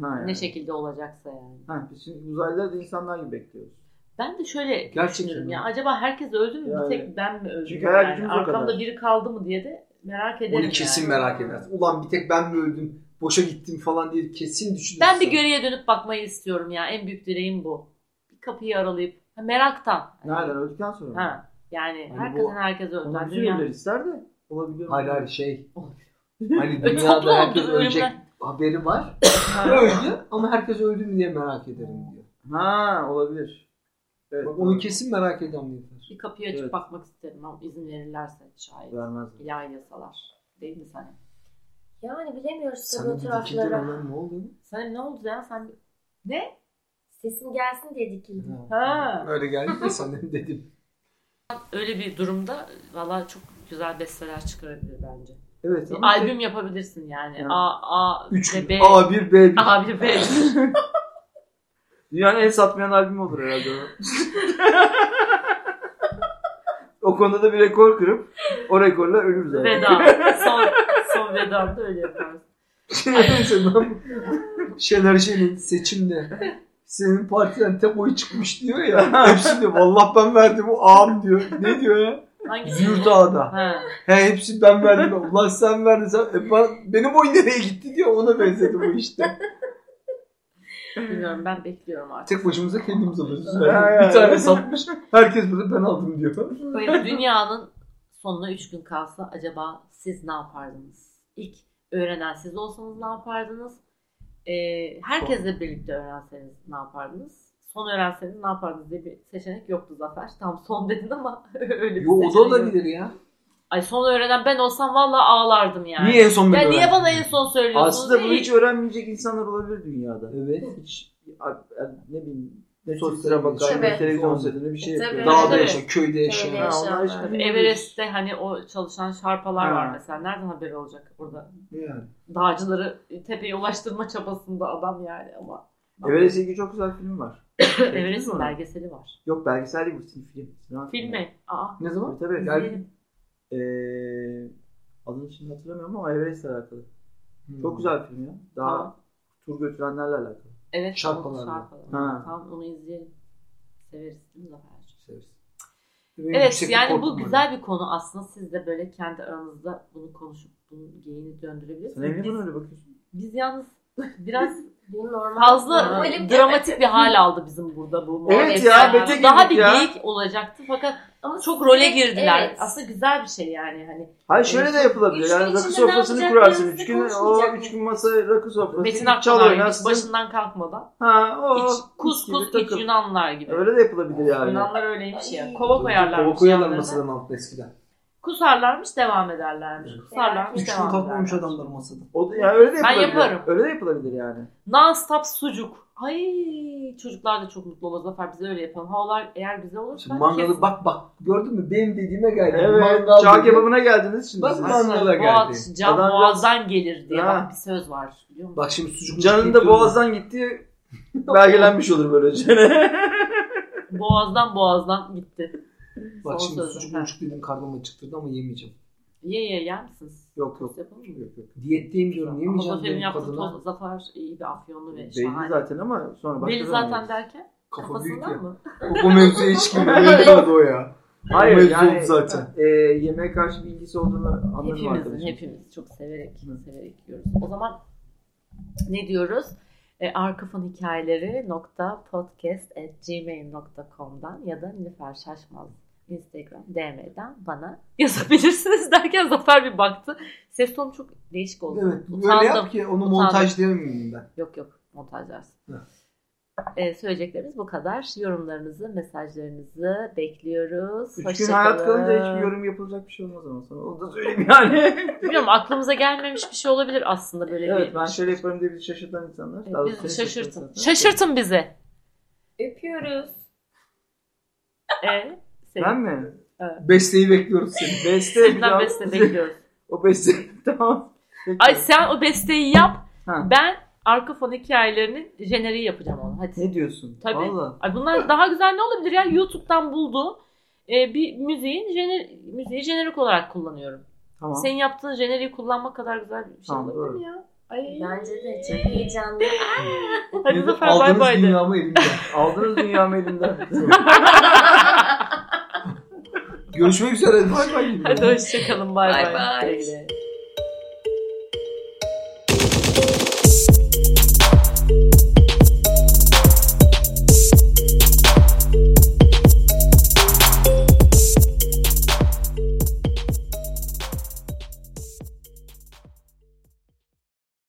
Speaker 4: Ha, yani.
Speaker 1: Ne şekilde olacaksa yani.
Speaker 4: Ha, biz şimdi uzaylıları da insanlar gibi bekliyoruz.
Speaker 1: Ben de şöyle
Speaker 2: Gerçekten
Speaker 1: düşünürüm
Speaker 2: mi?
Speaker 1: ya. Acaba herkes öldü mü?
Speaker 4: Yani.
Speaker 1: Bir tek ben mi öldüm?
Speaker 4: Çünkü hayal
Speaker 1: yani?
Speaker 4: gücümüz o kadar.
Speaker 1: Arkamda biri kaldı mı diye de merak ederim
Speaker 2: Onu
Speaker 1: yani.
Speaker 2: kesin merak eder. Ulan bir tek ben mi öldüm? Boşa gittim falan diye kesin düşünürsün.
Speaker 1: Ben bir geriye dönüp bakmayı istiyorum ya. En büyük dileğim bu. Bir kapıyı aralayıp ha, meraktan.
Speaker 4: Nereden öldükten sonra mı?
Speaker 1: Ha. Yani
Speaker 2: Hani
Speaker 1: herkesin
Speaker 2: bu-
Speaker 1: herkes öldü.
Speaker 4: Onlar
Speaker 1: Yani
Speaker 4: bütün
Speaker 1: dünya-
Speaker 4: ölüler ister de olabiliyor.
Speaker 2: Hayır hayır şey.
Speaker 1: Olur.
Speaker 2: Hani
Speaker 1: Ö, toplu
Speaker 2: dünyada herkes
Speaker 1: oldu,
Speaker 2: ölecek
Speaker 1: ölümler.
Speaker 2: haberi var.
Speaker 1: Ha.
Speaker 2: Öldü ama herkes öldü mü diye merak ederim diyor.
Speaker 4: Ha olabilir. Evet.
Speaker 2: Bak onu kesin merak eden bir insan.
Speaker 1: bir kapıyı açıp
Speaker 4: Evet.
Speaker 1: bakmak isterim ama izin verirlerse şayet.
Speaker 4: vermez.
Speaker 1: İlahi yasalar. Değil mi sana?
Speaker 3: Yani bilemiyoruz tabii
Speaker 2: Sana
Speaker 3: o
Speaker 2: bir dikilden
Speaker 3: tarafları.
Speaker 2: olan ne oldu?
Speaker 1: Sana ne oldu ya sen?
Speaker 3: Sesim gelsin diye dikildim.
Speaker 1: Ha.
Speaker 2: Öyle geldi de sanırım dedim.
Speaker 1: Öyle bir durumda valla çok güzel besteler çıkarabilir bence.
Speaker 4: Evet.
Speaker 1: Bir
Speaker 4: ama
Speaker 1: albüm yapabilirsin yani.
Speaker 4: Yani.
Speaker 1: A, A,
Speaker 4: Üç
Speaker 1: ve B.
Speaker 4: A1, B1.
Speaker 1: A1, B.
Speaker 4: Ee, Dünyanın en satmayan albümü olur herhalde o. o konuda da bir rekor kırıp o rekorla ölürüz herhalde.
Speaker 1: Veda. Son, son vedamda öyle yaparız.
Speaker 2: Şener Şen'in seçimde senin partiden tek oy çıkmış diyor ya. Hepsi diyor. Vallahi ben verdim o ağam diyor. Ne diyor ya?
Speaker 1: Hangisi?
Speaker 2: Züğürt ağada.
Speaker 1: Ha.
Speaker 2: He hepsi ben verdim. Ulan sen verdin. Sen, e, ben- benim oy nereye gitti diyor. Ona benzedi bu işte.
Speaker 1: Bilmiyorum ben bekliyorum artık.
Speaker 2: Tek başımıza kendimiz alıyoruz.
Speaker 4: Ha,
Speaker 2: Yani.
Speaker 4: yani.
Speaker 2: Bir tane satmış. Herkes burada ben aldım diyor.
Speaker 1: Böyle dünyanın sonuna 3 gün kalsa acaba siz ne yapardınız? İlk öğrenen siz olsanız ne yapardınız? Ee, herkesle birlikte öğrenseniz ne yapardınız? Son öğrenseniz ne yapardınız diye bir seçenek yoktu Zafer. Tam son dedin ama öyle bir
Speaker 2: Yo o da
Speaker 1: seçenek yok.
Speaker 2: olabilir ya.
Speaker 1: Ay son öğrenen ben olsam valla ağlardım yani.
Speaker 2: Niye en son
Speaker 1: Ya
Speaker 2: ben
Speaker 1: niye
Speaker 2: öğrendim?
Speaker 1: bana en son söylüyorsunuz?
Speaker 4: Aslında bunu
Speaker 1: Niye-
Speaker 4: hiç öğrenmeyecek insanlar olabilir dünyada.
Speaker 2: Evet.
Speaker 4: Hiç a- a- ne bileyim ne
Speaker 2: Tabii.
Speaker 4: sosyal bakar ne
Speaker 3: Tabii.
Speaker 4: televizyon seyrediyor ne bir şey
Speaker 3: E,
Speaker 4: yapıyor.
Speaker 3: tabii.
Speaker 2: Dağda
Speaker 1: Tabii.
Speaker 2: yaşa, köyde
Speaker 3: Öyle
Speaker 2: yaşa.
Speaker 4: Ha, onlar
Speaker 3: yaşayanlar.
Speaker 4: işte-
Speaker 1: Everest'te hani o çalışan şarpalar
Speaker 4: Ha.
Speaker 1: var mesela. Nereden haberi olacak orada?
Speaker 2: Yani.
Speaker 1: Dağcıları tepeye ulaştırma çabasında adam yani ama.
Speaker 4: Everest'e ilgili çok güzel film var. Seyrettiniz mi
Speaker 1: Everest'in
Speaker 4: onu?
Speaker 1: belgeseli var.
Speaker 4: Yok belgesel değil bu film. film. Sinema
Speaker 1: Film
Speaker 4: filmi.
Speaker 1: mi? Aa.
Speaker 2: Ne zaman?
Speaker 4: Tabii tabii.
Speaker 1: izleyelim.
Speaker 4: Yani, eee, Ee, adını şimdi hatırlamıyorum ama Everest'le alakalı.
Speaker 2: Hmm.
Speaker 4: Çok güzel film ya. Daha
Speaker 1: Tamam.
Speaker 4: tur götürenlerle alakalı.
Speaker 1: Evet.
Speaker 2: Şarpalar mı?
Speaker 1: Şarpalar.
Speaker 4: Ha.
Speaker 1: Tamam onu izleyelim. Severiz değil mi Zafer'cim?
Speaker 2: Benim
Speaker 1: Evet
Speaker 2: yükseklik
Speaker 1: yani bu
Speaker 2: korkum var.
Speaker 1: güzel bir konu aslında. Siz de böyle kendi aranızda bunu konuşup bunun geyini döndürebilirsiniz.
Speaker 4: Sen evine
Speaker 1: Biz-
Speaker 4: bana öyle bakıyorsun.
Speaker 1: Biz yalnız biraz
Speaker 3: Benim normal.
Speaker 1: fazla
Speaker 3: Öyle bir-
Speaker 1: dramatik bir hal aldı bizim burada bu.
Speaker 4: Evet
Speaker 1: muhabbet.
Speaker 4: ya,
Speaker 1: Yani
Speaker 4: bete
Speaker 1: Daha bir
Speaker 4: girdik ya.
Speaker 1: geyik olacaktı fakat
Speaker 3: Ama
Speaker 1: çok role
Speaker 3: siz-
Speaker 1: girdiler.
Speaker 3: Evet.
Speaker 1: Aslında güzel bir şey yani hani.
Speaker 4: Hayır şöyle de yapılabilir.
Speaker 3: Üç gün
Speaker 4: Yani rakı
Speaker 3: içinde
Speaker 4: sofrasını
Speaker 3: ne
Speaker 4: kurarsın. Üç
Speaker 3: yapacaklarınızı
Speaker 4: gün, o
Speaker 3: konuşmayacak
Speaker 4: üç gün masaya rakı sofrası.
Speaker 1: Metin
Speaker 4: çal
Speaker 1: Akpınar
Speaker 4: oynarsın.
Speaker 1: gibi başından kalkmadan.
Speaker 4: Ha o.
Speaker 1: iç,
Speaker 4: mis
Speaker 1: kus
Speaker 4: gibi
Speaker 1: kus iç
Speaker 4: takıl.
Speaker 1: Yunanlar gibi.
Speaker 4: Öyle de yapılabilir yani.
Speaker 1: Yunanlar öyleymiş ya.
Speaker 3: Ay.
Speaker 1: Kova koyarlarmış.
Speaker 2: Kova koyarlar
Speaker 1: yanlarına.
Speaker 2: masadan altta eskiden.
Speaker 1: Kusarlarmış devam ederlermiş. Kusarlarmış
Speaker 2: Üç gün
Speaker 1: devam ederlermiş.
Speaker 2: kalkmamış adamlar masada.
Speaker 4: O da, yani öyle de
Speaker 1: Ben
Speaker 4: yapılabilir.
Speaker 1: yaparım.
Speaker 4: Öyle de yapılabilir yani.
Speaker 1: Non-stop sucuk. Ay çocuklar da çok mutlu olur Zafer. Biz öyle yapalım. Havalar eğer güzel olursa.
Speaker 2: Şimdi mangalı
Speaker 1: kesin.
Speaker 2: bak bak gördün mü benim dediğime geldi.
Speaker 4: Evet.
Speaker 2: Mangal
Speaker 4: Çağ
Speaker 2: dedi.
Speaker 4: kebabına geldiniz şimdi.
Speaker 2: Bak
Speaker 4: siz.
Speaker 2: lan. Mangala
Speaker 1: Boğaz, can
Speaker 4: Adam biraz-
Speaker 1: boğazdan gelir diye
Speaker 4: Ha.
Speaker 1: bak bir söz var. Biliyor musun?
Speaker 2: Bak şimdi sucuk
Speaker 4: Canın da boğazdan gittiği belgelenmiş olur şey. böylece.
Speaker 1: Boğazdan boğazdan gitti.
Speaker 2: Bak
Speaker 1: Son
Speaker 2: şimdi
Speaker 1: sözü.
Speaker 2: sucuk
Speaker 1: Ha.
Speaker 2: mucuk dedim karnım acıktırdı ama yemeyeceğim.
Speaker 1: Ye ye yer misiniz?
Speaker 4: yok yok.
Speaker 1: Tost yapalım mı?
Speaker 2: Yok yok. Diyetteyim diyorum
Speaker 1: Ama
Speaker 2: yemeyeceğim
Speaker 1: Zafer'in
Speaker 2: dedim
Speaker 1: yaptığı
Speaker 2: kadına.
Speaker 1: toz Zafer iyi bir afyonlu ve
Speaker 4: Belli
Speaker 1: şahane.
Speaker 4: zaten ama sonra başka
Speaker 1: Belli
Speaker 4: zaman
Speaker 1: zaten
Speaker 4: yeriz.
Speaker 1: derken
Speaker 2: Kafa büyük
Speaker 1: kafasından
Speaker 2: ya.
Speaker 1: mı?
Speaker 2: O, o mevzuya hiç girmiyor. Mevzu oldu o ya. O
Speaker 4: Hayır
Speaker 2: mevzu
Speaker 4: yani
Speaker 2: oldu zaten.
Speaker 4: e, yemeğe karşı bilgisi olduğunu anladım
Speaker 1: Hepimizin,
Speaker 4: arkadaşım.
Speaker 1: hepimiz çok severek,
Speaker 4: Hı.
Speaker 1: severek yiyoruz. O zaman ne diyoruz? E, arkafon hikayeleri nokta podcast at gmail.com'dan ya da Nilüfer Şaşmaz Instagram DM'den bana yazabilirsiniz derken Zafer bir baktı. Ses tonu çok değişik oldu.
Speaker 2: Evet. Böyle
Speaker 1: Utandım.
Speaker 2: yap ki onu
Speaker 1: Utandım.
Speaker 2: montaj diyemeyeyim ben.
Speaker 1: Yok yok montaj dersi.
Speaker 2: Hı.
Speaker 1: E, söyleyeceklerimiz bu kadar. Yorumlarınızı, mesajlarınızı bekliyoruz.
Speaker 4: Üç gün
Speaker 1: Hoşça
Speaker 4: hayat
Speaker 1: kalın.
Speaker 4: kalınca hiçbir yorum yapılacak bir şey olmaz ama sana. Onu da söyleyeyim yani.
Speaker 1: Bilmiyorum aklımıza gelmemiş bir şey olabilir aslında böyle bir
Speaker 4: evet ben şöyle yaparım diye bizi şaşırtan insanlar. Daha doğrusu
Speaker 1: Bizi
Speaker 4: seni
Speaker 1: şaşırtın.
Speaker 4: insanlar.
Speaker 1: Şaşırtın bizi.
Speaker 3: Öpüyoruz.
Speaker 1: Ee, seni.
Speaker 4: Ben mi?
Speaker 2: Besteyi bekliyoruz seni.
Speaker 4: Beste
Speaker 1: Sizden
Speaker 4: yapacağım.
Speaker 1: beste bekliyoruz.
Speaker 4: o beste tamam.
Speaker 1: Ay sen o besteyi yap.
Speaker 4: Ha.
Speaker 1: Ben arka fon hikayelerinin jeneriği yapacağım onu. Hadi.
Speaker 4: Ne diyorsun?
Speaker 1: Tabii.
Speaker 4: Vallahi.
Speaker 1: Ay bunlar daha güzel ne olabilir ya? YouTube'dan bulduğum e, bir müziğin jener, müziği jenerik olarak kullanıyorum.
Speaker 4: Tamam.
Speaker 1: Senin yaptığın jeneriği kullanmak kadar güzel bir şey
Speaker 4: Tamam,
Speaker 1: olabilir
Speaker 4: doğru.
Speaker 1: mi ya? Ay.
Speaker 3: Bence de çok heyecanlı.
Speaker 1: Hadi
Speaker 2: Benim
Speaker 1: Zafer bay
Speaker 2: Aldığınız
Speaker 1: bay de.
Speaker 2: dünyamı elimden.
Speaker 4: Aldınız dünyamı elimden.
Speaker 2: Görüşmek üzere. Bay bay.
Speaker 1: Hadi hoşçakalın bay
Speaker 3: Bay
Speaker 1: bay.
Speaker 3: bay.
Speaker 1: Güle güle.